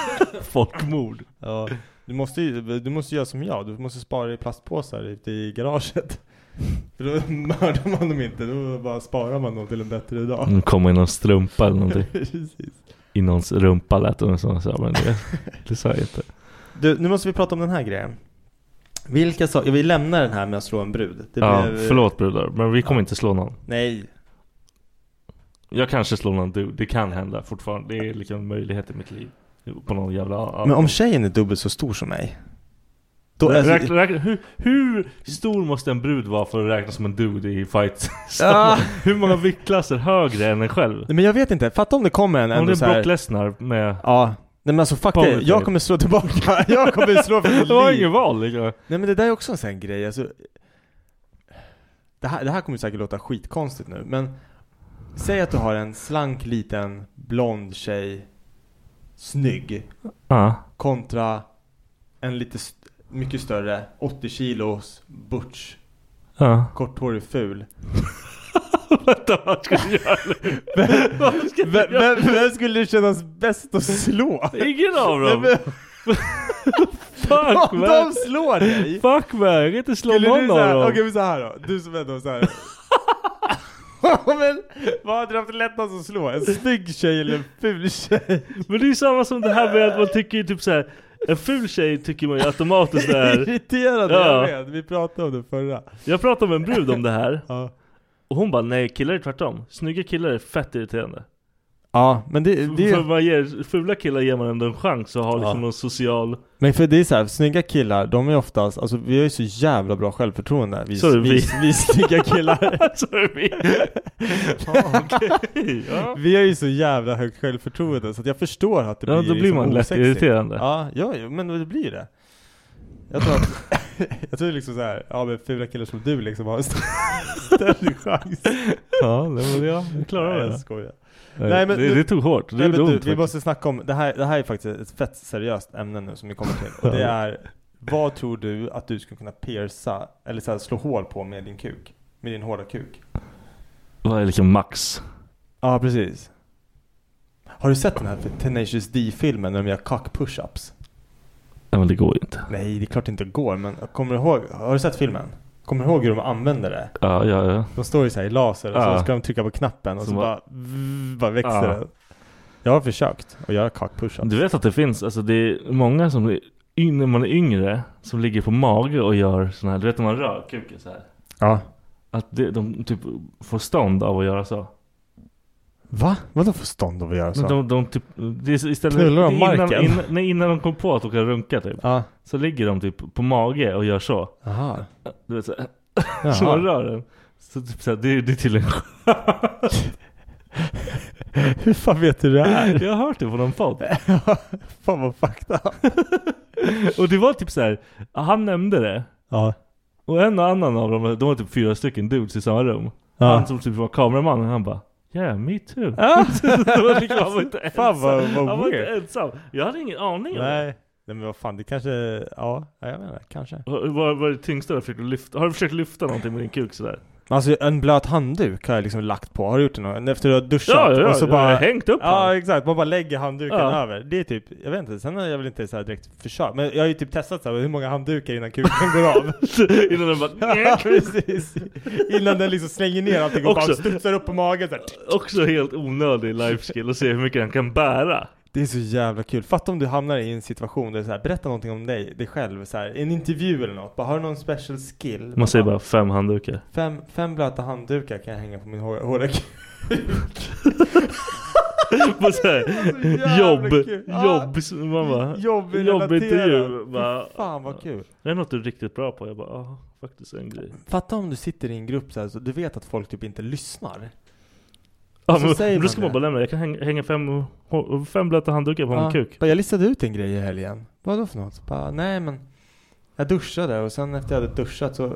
Speaker 8: <laughs> Folkmord.
Speaker 6: Ja. Du måste ju, du måste göra som jag. Du måste spara i plastpåsar ute i garaget. För då mördar man dem inte. Då bara sparar man dem till en bättre dag.
Speaker 8: Nu <laughs> kommer i någon strumpa eller någonting.
Speaker 6: <laughs> Precis.
Speaker 8: I någons rumpa lät det som så här, men
Speaker 6: <laughs>
Speaker 8: det, det sa jag inte.
Speaker 6: Du, nu måste vi prata om den här grejen. Vilka saker, vi lämnar den här med att slå en brud. Det
Speaker 8: ja,
Speaker 6: blev-
Speaker 8: förlåt brudar, men vi kommer inte slå någon.
Speaker 6: Nej,
Speaker 8: Jag kanske slår någon dude, det kan hända fortfarande. Det är liksom en möjlighet i mitt liv. På någon jävla...
Speaker 6: Men om tjejen är dubbelt så stor som mig då är
Speaker 8: Räkna, räkna, hur, hur stor måste en brud vara för att räknas som en dude i <laughs> fight?
Speaker 6: <laughs> Ah.
Speaker 8: Hur många viktklasser högre än en själv?
Speaker 6: Nej, Men jag vet inte, fatta om det kommer en
Speaker 8: Om
Speaker 6: ändå
Speaker 8: det
Speaker 6: så
Speaker 8: är
Speaker 6: här-
Speaker 8: Brock Lesnar med...
Speaker 6: Ja, nej men alltså fuck det,
Speaker 8: Ponytail.
Speaker 6: jag kommer slå tillbaka, <laughs> jag kommer
Speaker 8: <laughs>
Speaker 6: slå för mitt
Speaker 8: Det var
Speaker 6: liv.
Speaker 8: inget val liksom.
Speaker 6: Nej men det där är också en sån här grej, alltså det här, det här kommer säkert låta skitkonstigt nu, men Säg att du har en slank liten blond tjej Snygg
Speaker 8: Ja.
Speaker 6: Kontra en lite st- mycket större 80 kilos butch
Speaker 8: Ja.
Speaker 6: Korthårig <laughs> ful
Speaker 8: Vänta, vad ska du göra nu? Vad ska du
Speaker 6: Vem,
Speaker 8: göra?
Speaker 6: vem, vem skulle kännas bäst att <laughs> slå?
Speaker 8: Ingen av dem.
Speaker 6: Nej, men-
Speaker 8: Fuck
Speaker 6: Om
Speaker 8: man!
Speaker 6: de slår dig!
Speaker 8: Fuck man, jag kan inte slå
Speaker 6: Skulle du
Speaker 8: någon av
Speaker 6: såhär,
Speaker 8: dem.
Speaker 6: okej men såhär då, du som ändå <laughs> såhär men vad hade du haft lättast att slå? En snygg tjej eller en ful tjej?
Speaker 8: Men det är ju samma som det här med att man tycker ju typ såhär En ful tjej tycker man ju automatiskt är
Speaker 6: <laughs> Irriterande,
Speaker 8: Ja.
Speaker 6: jag vet. Vi pratade om det förra.
Speaker 8: Jag pratade med en brud om det här
Speaker 6: Ja.
Speaker 8: Och hon bara nej killar är tvärtom Snygga killar är fett irriterande
Speaker 6: Ja, men det, det <laughs>
Speaker 8: För man ger, fula killar ger man ändå en chans att ha liksom
Speaker 6: Ja.
Speaker 8: någon social
Speaker 6: Men för det är såhär, snygga killar, de är oftast, alltså vi har ju så jävla bra självförtroende vi,
Speaker 8: Sorry,
Speaker 6: vi,
Speaker 8: vi.
Speaker 6: vi, snygga <laughs> killar
Speaker 8: Sorry Ja, okej, <laughs> ja.
Speaker 6: Vi har ju så jävla högt självförtroende så att jag förstår att det
Speaker 8: Ja,
Speaker 6: blir liksom
Speaker 8: då blir man lätt
Speaker 6: osexigt.
Speaker 8: irriterande.
Speaker 6: Ja, ja, ja, men det blir det Jag tror att, <laughs> jag tror liksom såhär, ja men fula killar som du liksom har en st- <laughs> större chans
Speaker 8: Ja, det var det jag jag klarade
Speaker 6: Nej, jag
Speaker 8: det.
Speaker 6: skojar
Speaker 8: Nej, det- det tog hårt. Det
Speaker 6: nej,
Speaker 8: gjorde
Speaker 6: men
Speaker 8: ont
Speaker 6: du, vi
Speaker 8: faktiskt.
Speaker 6: måste snacka om, det här, det här är faktiskt ett fett seriöst ämne nu som vi kommer till Och det
Speaker 8: Ja.
Speaker 6: är, vad tror du att du skulle kunna pierca, eller så här, slå hål på med din kuk? Med din hårda kuk?
Speaker 8: Vad är liksom max?
Speaker 6: Ja, precis Har du sett den här Tenacious D-filmen när de gör cock push-ups?
Speaker 8: Nej men det går ju inte
Speaker 6: Nej, det är klart det inte går, men kommer du ihåg? Har du sett filmen? Kommer du ihåg hur de använder det?
Speaker 8: Ja, ja, ja.
Speaker 6: De står ju så här i laser och
Speaker 8: Ja.
Speaker 6: så ska de trycka på knappen och så,
Speaker 8: Som
Speaker 6: bara,
Speaker 8: bara-
Speaker 6: vzz, bara växer
Speaker 8: Ja.
Speaker 6: det. Jag har försökt att göra cockpush-ups.
Speaker 8: Du vet att det finns, alltså det är många som är yng- när man är yngre som ligger på mage och gör sådana här, du vet när man rör kuken så här.
Speaker 6: Ja.
Speaker 8: Att det, de typ får stånd av att göra så.
Speaker 6: Va? Vadå för stånd att göra så?
Speaker 8: Men De, de typ, det är så- istället,
Speaker 6: Alltså. Knullar de
Speaker 8: innan,
Speaker 6: marken?
Speaker 8: innan, nej, innan de kom på att de kan runka typ. Så ligger de typ på mage och gör så.
Speaker 6: Aha.
Speaker 8: Du vet så här.
Speaker 6: Jaha.
Speaker 8: Så man rör den. Så typ så här, det, är- det är tydligen
Speaker 6: <laughs> Hur fan vet du det <laughs> här?
Speaker 8: <laughs> Jag har hört det på någon podd.
Speaker 6: fan vad fakta.
Speaker 8: och det var typ så här. han nämnde det.
Speaker 6: Ja.
Speaker 8: Och en och annan av dem, de var typ fyra stycken dudes i samma rum.
Speaker 6: Ja.
Speaker 8: Han som typ var kameraman, han bara Yeah, me too. <laughs> Så det var liksom, han var inte ensam.
Speaker 6: Fan, vad- vad
Speaker 8: han var inte
Speaker 6: weird.
Speaker 8: ensam. Jag hade ingen aning om det.
Speaker 6: Nej. Nej men vad fan, det kanske, ja, ja, jag menar kanske.
Speaker 8: Vad vad- vad är det tyngsta du har försökt lyfta? Har du försökt lyfta någonting med din kuk sådär?
Speaker 6: Alltså en blöt handduk har jag liksom lagt på, har du gjort det någon gång? Efter du har duschat
Speaker 8: Ja, ja, ja,
Speaker 6: och så
Speaker 8: jag
Speaker 6: bara
Speaker 8: har hängt upp
Speaker 6: Ja
Speaker 8: han.
Speaker 6: exakt, man bara lägger handduken
Speaker 8: Ja.
Speaker 6: över Det är typ, jag vet inte, sen har jag väl inte så här direkt försökt Men jag har ju typ testat så här, hur många handdukar innan kuken
Speaker 8: <laughs>
Speaker 6: går av
Speaker 8: <laughs> Innan den bara
Speaker 6: Ja <laughs> precis Innan den liksom slänger ner allting och
Speaker 8: Också-
Speaker 6: bara studsar upp på magen så här.
Speaker 8: Också helt onödig life skill att se hur mycket han kan bära.
Speaker 6: Det är så jävla kul. Fatta om du hamnar i en situation där så här, berätta någonting om dig, dig själv så här, en intervju eller något. Bara, har du någon special skill?
Speaker 8: Man säger bara fem <laughs> handdukar.
Speaker 6: Fem, fem blöta handdukar kan jag hänga på min hår- hårda <laughs> kuk.
Speaker 8: På så här,
Speaker 6: jävla
Speaker 8: jobb,
Speaker 6: kul. Ja.
Speaker 8: jobb, så man bara,
Speaker 6: Jobb-relaterat.
Speaker 8: jobbintervju.
Speaker 6: Fy
Speaker 8: Bara,
Speaker 6: fan, vad kul.
Speaker 8: Det är något du är riktigt bra på. Jag bara, ja faktiskt en grej.
Speaker 6: Fatta om du sitter i en grupp så, här, så du vet att folk typ inte lyssnar.
Speaker 8: Ja,
Speaker 6: Så
Speaker 8: men,
Speaker 6: säger
Speaker 8: men då
Speaker 6: man
Speaker 8: ska
Speaker 6: det.
Speaker 8: man bara lämna, jag kan hänga, hänga fem, fem blöta handdukar på
Speaker 6: Ja,
Speaker 8: min kuk.
Speaker 6: bara, Jag listade ut en grej i helgen. Vadå för något? Bara, nej men jag duschade och sen efter jag hade duschat så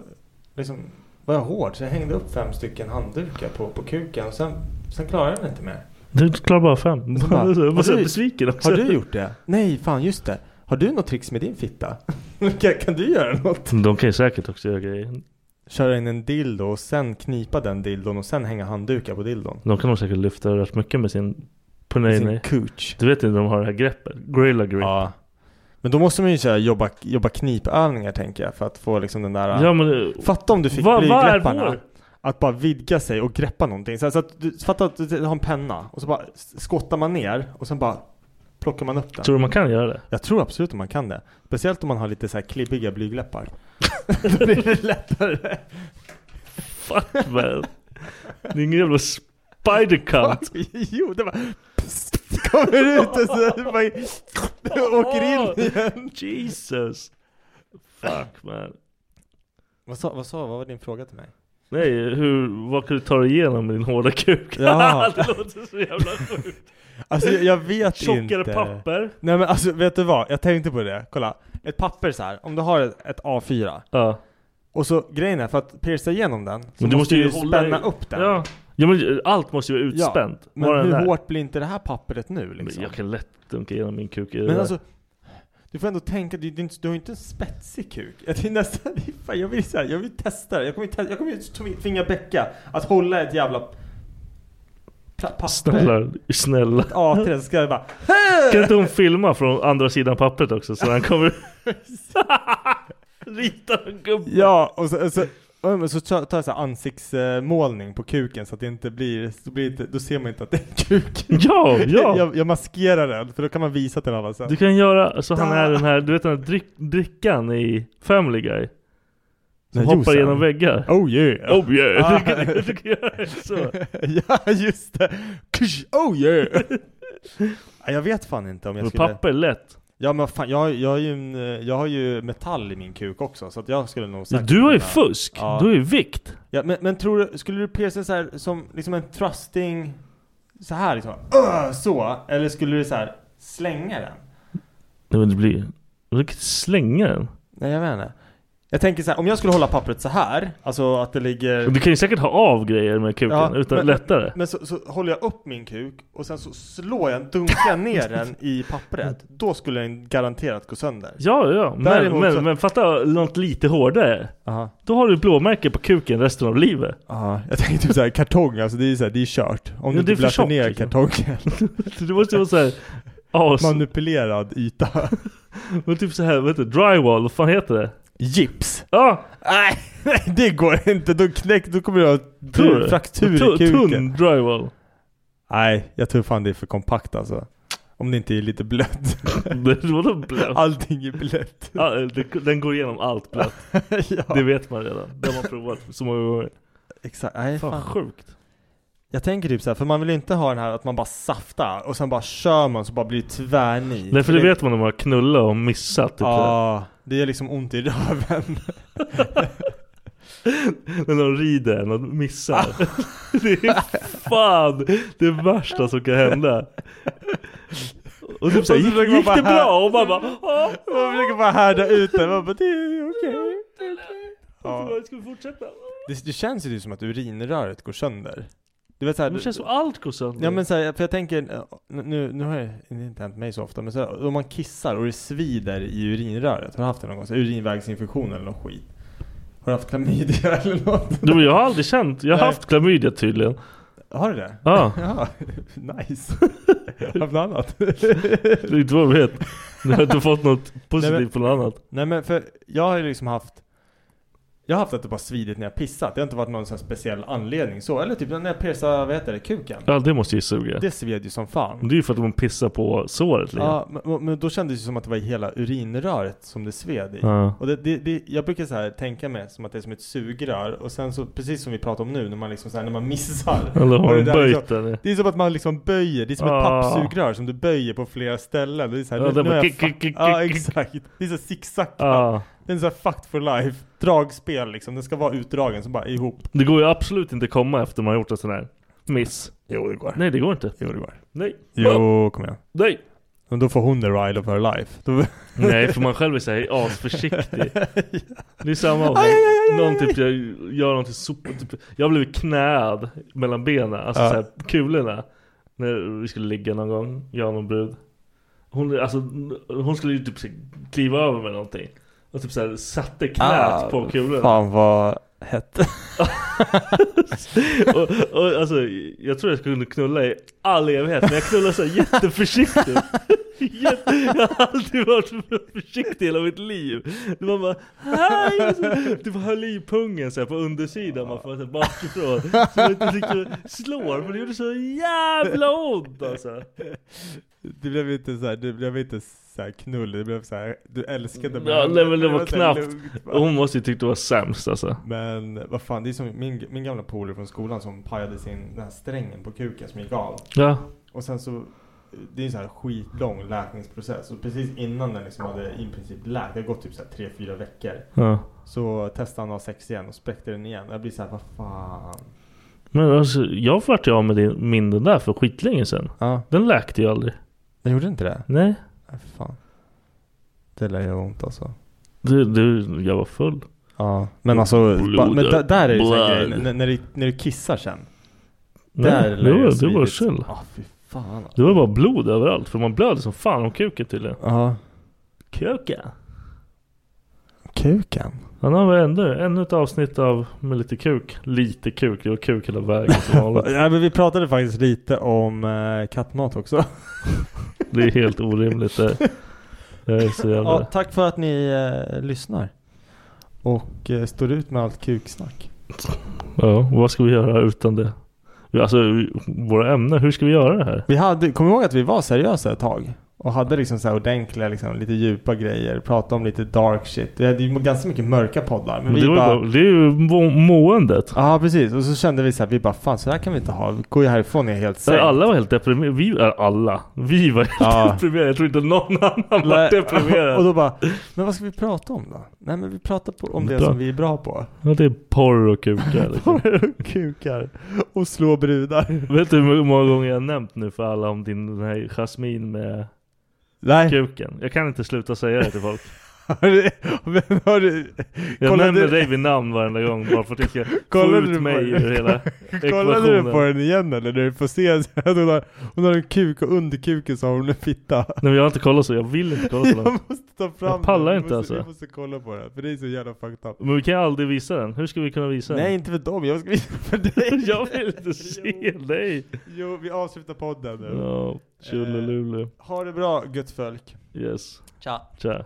Speaker 6: liksom var jag hård så jag hängde upp fem stycken handdukar på, på kuken och sen, sen klarade jag den inte mer.
Speaker 8: Du klarar bara fem.
Speaker 6: Så
Speaker 8: Jag <laughs>
Speaker 6: bara,
Speaker 8: var så
Speaker 6: har du-
Speaker 8: besviken också.
Speaker 6: Har du gjort det? Nej, fan just det. Har du något tricks med din fitta? <laughs> kan, kan du göra något?
Speaker 8: De kan ju säkert också göra grejer.
Speaker 6: Köra in en dildo och sen knipa den dildon och sen hänga handdukar på dildon.
Speaker 8: De kan nog säkert lyfta rätt mycket med sin
Speaker 6: Med sin
Speaker 8: punani.
Speaker 6: cooch.
Speaker 8: Du vet inte de har det här greppet? Gorilla grip.
Speaker 6: Ja. Men då måste man ju så här, jobba, jobba knipövningar tänker jag för att få liksom den där...
Speaker 8: Ja, men det-
Speaker 6: Fatta om du fick
Speaker 8: Vad- vad är
Speaker 6: blygdläpparna.
Speaker 8: vår?
Speaker 6: Att bara vidga sig och greppa någonting. Så, här, så att du, fatta att du har en penna och så bara skottar man ner och sen bara plockar man upp den.
Speaker 8: Tror du man kan göra
Speaker 6: <laughs>
Speaker 8: det?
Speaker 6: Jag tror absolut att man kan det. Speciellt om man har lite så här
Speaker 8: <laughs>
Speaker 6: klibbiga blygläppar. Då blir det lättare.
Speaker 8: Fuck man. Det är ingen jävla spider cunt.
Speaker 6: jo, det var... Kommer ut och så bara, åker in igen.
Speaker 8: Jesus. Fuck man.
Speaker 6: Vad sa, vad sa, vad var din fråga till mig?
Speaker 8: Nej, hur, vad kan du ta dig igenom med din hårda kuk?
Speaker 6: Ja.
Speaker 8: <laughs> det låter så jävla sjukt.
Speaker 6: Alltså jag, jag vet <laughs> inte.
Speaker 8: Tjockare papper.
Speaker 6: Nej men alltså vet du vad? Jag tänkte på det. Kolla. Ett papper så här. om du har ett, ett A4.
Speaker 8: Ja.
Speaker 6: Och så grejen är för att pierca igenom den. Så
Speaker 8: Men
Speaker 6: måste, du ju
Speaker 8: hålla
Speaker 6: spänna
Speaker 8: i-
Speaker 6: upp den.
Speaker 8: Ja. ja, men allt måste ju vara
Speaker 6: Ja,
Speaker 8: utspänt.
Speaker 6: Men
Speaker 8: Bara den
Speaker 6: hur
Speaker 8: där.
Speaker 6: hårt blir inte det här papperet nu
Speaker 8: Men
Speaker 6: liksom?
Speaker 8: Jag kan lätt dunka igenom min kuk i det
Speaker 6: Men
Speaker 8: där.
Speaker 6: alltså, du får ändå tänka, du, du, du har ju inte en spetsig kuk. Jag, det är nästan, <laughs> det är fan, jag, vill, så här, jag vill testa det. Jag kommer, ju te- jag kommer ju tv- tvinga Becka att hålla ett jävla pa-
Speaker 8: <laughs>
Speaker 6: papper.
Speaker 8: Snälla, snälla.
Speaker 6: A3 så ska jag bara
Speaker 8: Kan inte hon filma från andra sidan pappret också så han
Speaker 6: <laughs>
Speaker 8: kommer... <laughs> Rita en gubbe.
Speaker 6: Ja, och så, och så, och men så tar tar jag så här ansiktsmålning på kuken så att det inte blir, så blir det, inte- då ser man inte att det är en kuk.
Speaker 8: Ja, ja.
Speaker 6: jag, jag maskerar den för då kan man visa till alla sen.
Speaker 8: Du kan göra så han är den här, du vet den här drick, drickan i Family Guy? Som
Speaker 6: Nej,
Speaker 8: hoppar
Speaker 6: Jossan.
Speaker 8: genom väggar?
Speaker 6: Oh yeah!
Speaker 8: <laughs> Oh yeah!
Speaker 6: Ah.
Speaker 8: Du, kan, du kan göra det så!
Speaker 6: <laughs> ja, just det! Kush, Oh yeah! <laughs> Ja, jag vet fan inte om jag
Speaker 8: Men
Speaker 6: skulle...
Speaker 8: papper är lätt.
Speaker 6: Ja men fan, jag, jag, är ju en, eh, jag har ju metall i min kuk också så att jag skulle nog säkert
Speaker 8: Du har ju
Speaker 6: kunna-
Speaker 8: fusk!
Speaker 6: Ja.
Speaker 8: Du har ju vikt!
Speaker 6: Ja, men, men tror du, skulle du pierca så här som liksom en thrusting så här liksom? Öh, så! Eller skulle du så här slänga den?
Speaker 8: Nej men det blir... Du kan slänga den.
Speaker 6: Nej jag vet inte. Jag tänker så här, om jag skulle hålla pappret så här, alltså att det ligger...
Speaker 8: Du kan ju säkert ha av grejer med kuken
Speaker 6: Ja,
Speaker 8: utan
Speaker 6: men-
Speaker 8: lättare.
Speaker 6: Men så, så håller jag upp min kuk och sen så slår jag, dunkar jag ner den i pappret. Då skulle den garanterat gå sönder.
Speaker 8: Ja, ja, men,
Speaker 6: Däremot
Speaker 8: men,
Speaker 6: så-
Speaker 8: men fatta något lite hårdare.
Speaker 6: Aha.
Speaker 8: Då har du blåmärke på kuken resten av livet. <laughs>
Speaker 6: Ja, jag tänker typ såhär kartong, alltså det är såhär, det är kört. Om
Speaker 8: Ja,
Speaker 6: du
Speaker 8: det
Speaker 6: inte
Speaker 8: är för
Speaker 6: blöter
Speaker 8: tjockt,
Speaker 6: ner
Speaker 8: liksom. <laughs>
Speaker 6: kartongen.
Speaker 8: Det måste ju vara såhär... As...
Speaker 6: Manipulerad yta.
Speaker 8: Men typ såhär, vad heter det? Drywall, vad fan heter det?
Speaker 6: Gips.
Speaker 8: Ja!
Speaker 6: Nej! Nej det går inte, då, knäck, då kommer du ha
Speaker 8: Tror du?
Speaker 6: tu- fraktur
Speaker 8: Tu-
Speaker 6: i kuken.
Speaker 8: tunn <laughs> drywall.
Speaker 6: Nej, jag tror fan det är för kompakt alltså. Om det inte är lite blött.
Speaker 8: Vadå blött?
Speaker 6: Allting är blött. <laughs>
Speaker 8: Ja, det- Den går igenom allt blött.
Speaker 6: Ja.
Speaker 8: Det vet man redan. Det har man provat så många gånger.
Speaker 6: Exakt, nej
Speaker 8: Fan,
Speaker 6: fan.
Speaker 8: sjukt.
Speaker 6: Jag tänker typ så här, för man vill ju inte ha den här att man bara saftar och sen bara kör man så bara blir det tvärnit.
Speaker 8: Nej för det vet man när man har knullat och missat. Typ.
Speaker 6: Ja, det gör liksom ont i röven.
Speaker 8: <laughs>
Speaker 6: <laughs>
Speaker 8: När någon rider en och missar. <laughs> det är fan det värsta som kan hända. Och typ såhär,
Speaker 6: Och så
Speaker 8: gick,
Speaker 6: försöker man
Speaker 8: gick
Speaker 6: bara
Speaker 8: det
Speaker 6: här-
Speaker 8: bra? Och man bara, ja.
Speaker 6: Man försöker bara härda ut den, man bara det är okej. Ja.
Speaker 8: Okay. Ska vi fortsätta?
Speaker 6: Det, det känns ju typ som att urinröret går sönder. Du vet så här,
Speaker 8: Men det känns som allt går sönder.
Speaker 6: Ja men så här, för jag tänker, eh, nu, nu har jag, det har inte hänt mig så ofta, men så här, om man kissar och det svider i urinröret, har du haft det någon gång? Så här, urinvägsinfektion eller någon skit? Har du haft klamydia <laughs> eller något?
Speaker 8: Du, men jag har aldrig känt, jag har
Speaker 6: Nej.
Speaker 8: haft klamydia tydligen.
Speaker 6: Har du det?
Speaker 8: Ja.
Speaker 6: <laughs> ja <laughs> nice. Har du haft något annat?
Speaker 8: Det är inte vad jag vet. Jag har inte fått något positivt
Speaker 6: Nej, men-
Speaker 8: på något annat.
Speaker 6: <laughs> Nej men för jag har ju liksom haft Jag har haft att det bara svidit när jag pissat Det har inte varit någon sån här speciell anledning så Eller typ när jag piercade, vad heter det, kuken?
Speaker 8: Ja det måste ju suga.
Speaker 6: Det sved ju som fan
Speaker 8: Men Det är ju för att man pissar på såret lite.
Speaker 6: Ja, men, men då kändes det som att det var i hela urinröret som det sved i
Speaker 8: Ja.
Speaker 6: Och det, det, det, jag brukar så här tänka mig som att det är som ett sugrör Och sen så, precis som vi pratar om nu när man liksom så här, när man missar
Speaker 8: Eller har
Speaker 6: Och
Speaker 8: de
Speaker 6: det där
Speaker 8: böjt
Speaker 6: liksom,
Speaker 8: den?
Speaker 6: Det är som att man liksom böjer, det är som ett
Speaker 8: Ah.
Speaker 6: pappsugrör som du böjer på flera ställen Och Det är så här,
Speaker 8: Ja,
Speaker 6: nu,
Speaker 8: den
Speaker 6: nu
Speaker 8: bara
Speaker 6: har jag
Speaker 8: kick, kick,
Speaker 6: fuck-
Speaker 8: kick,
Speaker 6: Ja
Speaker 8: kick, kick.
Speaker 6: exakt, det är så zigzag
Speaker 8: Ja.
Speaker 6: det är så här fucked for life, dragspel liksom, den ska vara utdragen så bara ihop
Speaker 8: Det går ju absolut inte komma efter man har gjort en sån här miss.
Speaker 6: Jo det går
Speaker 8: Nej det går inte.
Speaker 6: Jo det går
Speaker 8: Nej.
Speaker 6: Jo kom igen
Speaker 8: Nej.
Speaker 6: Men då får hon the ride of her life Då-
Speaker 8: <laughs> Nej för man själv är såhär
Speaker 6: <laughs>
Speaker 8: asförsiktig. Det är samma om
Speaker 6: Aj, aj,
Speaker 8: någon typ jag gör någonting sopigt. Typ, jag har blivit knäad mellan benen, alltså
Speaker 6: Ja.
Speaker 8: såhär kulorna. När vi skulle ligga någon gång, jag och någon brud. Hon, alltså, hon skulle ju typ så här kliva över med någonting. Och typ såhär satte knät
Speaker 6: Ah,
Speaker 8: på kulorna.
Speaker 6: Fan vad hett
Speaker 8: <laughs> och, och, alltså, jag tror jag skulle knulla i all evighet, men jag knullar så här jätteförsiktigt. <laughs> Jätte, jag har aldrig varit så försiktig i hela mitt liv. Det var bara hej! Du typ höll i pungen så här på undersidan, man får så här bakifrån. Så man inte riktigt slår, för det gjorde så jävla ont alltså.
Speaker 6: <laughs> Det blev inte såhär, det blev inte såhär knull, det blev såhär, du älskade mig
Speaker 8: Ja, nej men det var
Speaker 6: så här
Speaker 8: knappt.
Speaker 6: lugnt, va?
Speaker 8: Hon måste ju tyckt det var sämst alltså.
Speaker 6: Men vad fan, det är som min, min gamla polare från skolan som pajade sin, den här strängen på kuken som gick av
Speaker 8: Ja.
Speaker 6: Och sen så Det är en sån här skitlång läkningsprocess och precis innan den liksom hade i princip läkt, det har gått typ så här 3-4 veckor
Speaker 8: Ja.
Speaker 6: Så testade han att ha sex igen och spräckte den igen Jag blir såhär, vad fan
Speaker 8: Men alltså, jag vart ju av med din, min den där för skitlänge sedan.
Speaker 6: Ja.
Speaker 8: Den läkte ju aldrig.
Speaker 6: Den gjorde inte det?
Speaker 8: Nej.
Speaker 6: Nej för fan Det lär göra ont alltså
Speaker 8: Du, du, jag var full.
Speaker 6: Ja,
Speaker 8: Mm.
Speaker 6: men alltså, ba, men
Speaker 8: Blodet.
Speaker 6: där, där är det ju sån här
Speaker 8: Blood.
Speaker 6: grej, när, när, du, när du kissar sen
Speaker 8: Nej,
Speaker 6: Där
Speaker 8: det var-
Speaker 6: jag
Speaker 8: det var
Speaker 6: svidit.
Speaker 8: chill.
Speaker 6: Ja, fy fan alltså.
Speaker 8: Det var bara blod överallt för man blöder som fan om kuken tydligen.
Speaker 6: Ja,
Speaker 8: Kuken?
Speaker 6: kuken?
Speaker 8: Han har väl ändå ännu ett avsnitt av med lite kuk. Lite kuk, det var kuk hela vägen som
Speaker 6: <laughs>
Speaker 8: vanligt.
Speaker 6: Ja, men vi pratade faktiskt lite om eh, kattmat också
Speaker 8: Det är helt orimligt det. Jag är så
Speaker 6: Ja,
Speaker 8: jävla...
Speaker 6: tack för att ni eh, lyssnar. Och eh, står ut med allt kuksnack.
Speaker 8: Ja, vad ska vi göra utan det? Vi- Alltså våra ämnen, hur ska vi göra det här?
Speaker 6: Vi hade, kom ihåg att vi var seriösa ett tag. Och hade liksom så här ordentliga, liksom, lite djupa grejer. Pratade om lite dark shit. Vi hade ju ganska mycket mörka poddar. Men
Speaker 8: det,
Speaker 6: vi
Speaker 8: var ju
Speaker 6: bara...
Speaker 8: bara, det är ju må- måendet.
Speaker 6: Ja precis, och så kände vi så här, vi bara fan så här kan vi inte ha, vi går ju härifrån är helt
Speaker 8: Där
Speaker 6: sänkt.
Speaker 8: alla var helt deprimerade. Vi, äh, alla. Vi var helt
Speaker 6: Ja.
Speaker 8: deprimerade. Jag tror inte någon annan
Speaker 6: <laughs> Nej.
Speaker 8: var deprimerad.
Speaker 6: <laughs> Och då bara, men vad ska vi prata om då? Nej men vi pratar på, om det
Speaker 8: Bra.
Speaker 6: som vi är bra på.
Speaker 8: Ja, det är porr och
Speaker 6: <laughs>
Speaker 8: kukar liksom.
Speaker 6: Kukar. Och slå brudar.
Speaker 8: Vet du hur många gånger jag har nämnt nu för alla om din den här Jasmine med
Speaker 6: Nej.
Speaker 8: kuken? Jag kan inte sluta säga det till folk.
Speaker 6: <laughs> Har du, men har du,
Speaker 8: Jag
Speaker 6: Kolla,
Speaker 8: nämner
Speaker 6: du-
Speaker 8: dig vid namn varenda gång bara för att jag ska få
Speaker 6: <laughs> Kollade du
Speaker 8: ut
Speaker 6: på-
Speaker 8: mig ur
Speaker 6: <laughs>
Speaker 8: hela
Speaker 6: Kollade du
Speaker 8: ekvationen.
Speaker 6: på den igen eller? När du får se <laughs> så här, hon har, hon har en kuk och under kuken så har hon en fitta. <laughs>
Speaker 8: Nej men jag har inte kollat så, jag vill inte kolla så
Speaker 6: Jag
Speaker 8: långt.
Speaker 6: måste ta fram
Speaker 8: Jag pallar
Speaker 6: den.
Speaker 8: inte
Speaker 6: vi måste,
Speaker 8: alltså.
Speaker 6: Vi måste kolla på den, för det är så jävla fucked up.
Speaker 8: Men vi kan ju aldrig visa den, hur ska vi kunna visa
Speaker 6: Nej inte för dem, jag ska visa för
Speaker 8: den?
Speaker 6: dig.
Speaker 8: <laughs> jag vill inte se dig!
Speaker 6: <laughs> Jo, vi avslutar podden nu.
Speaker 8: Ja, tjolilulu.
Speaker 6: Ha det bra gött folk.
Speaker 8: Yes,
Speaker 6: Ciao.
Speaker 8: tja.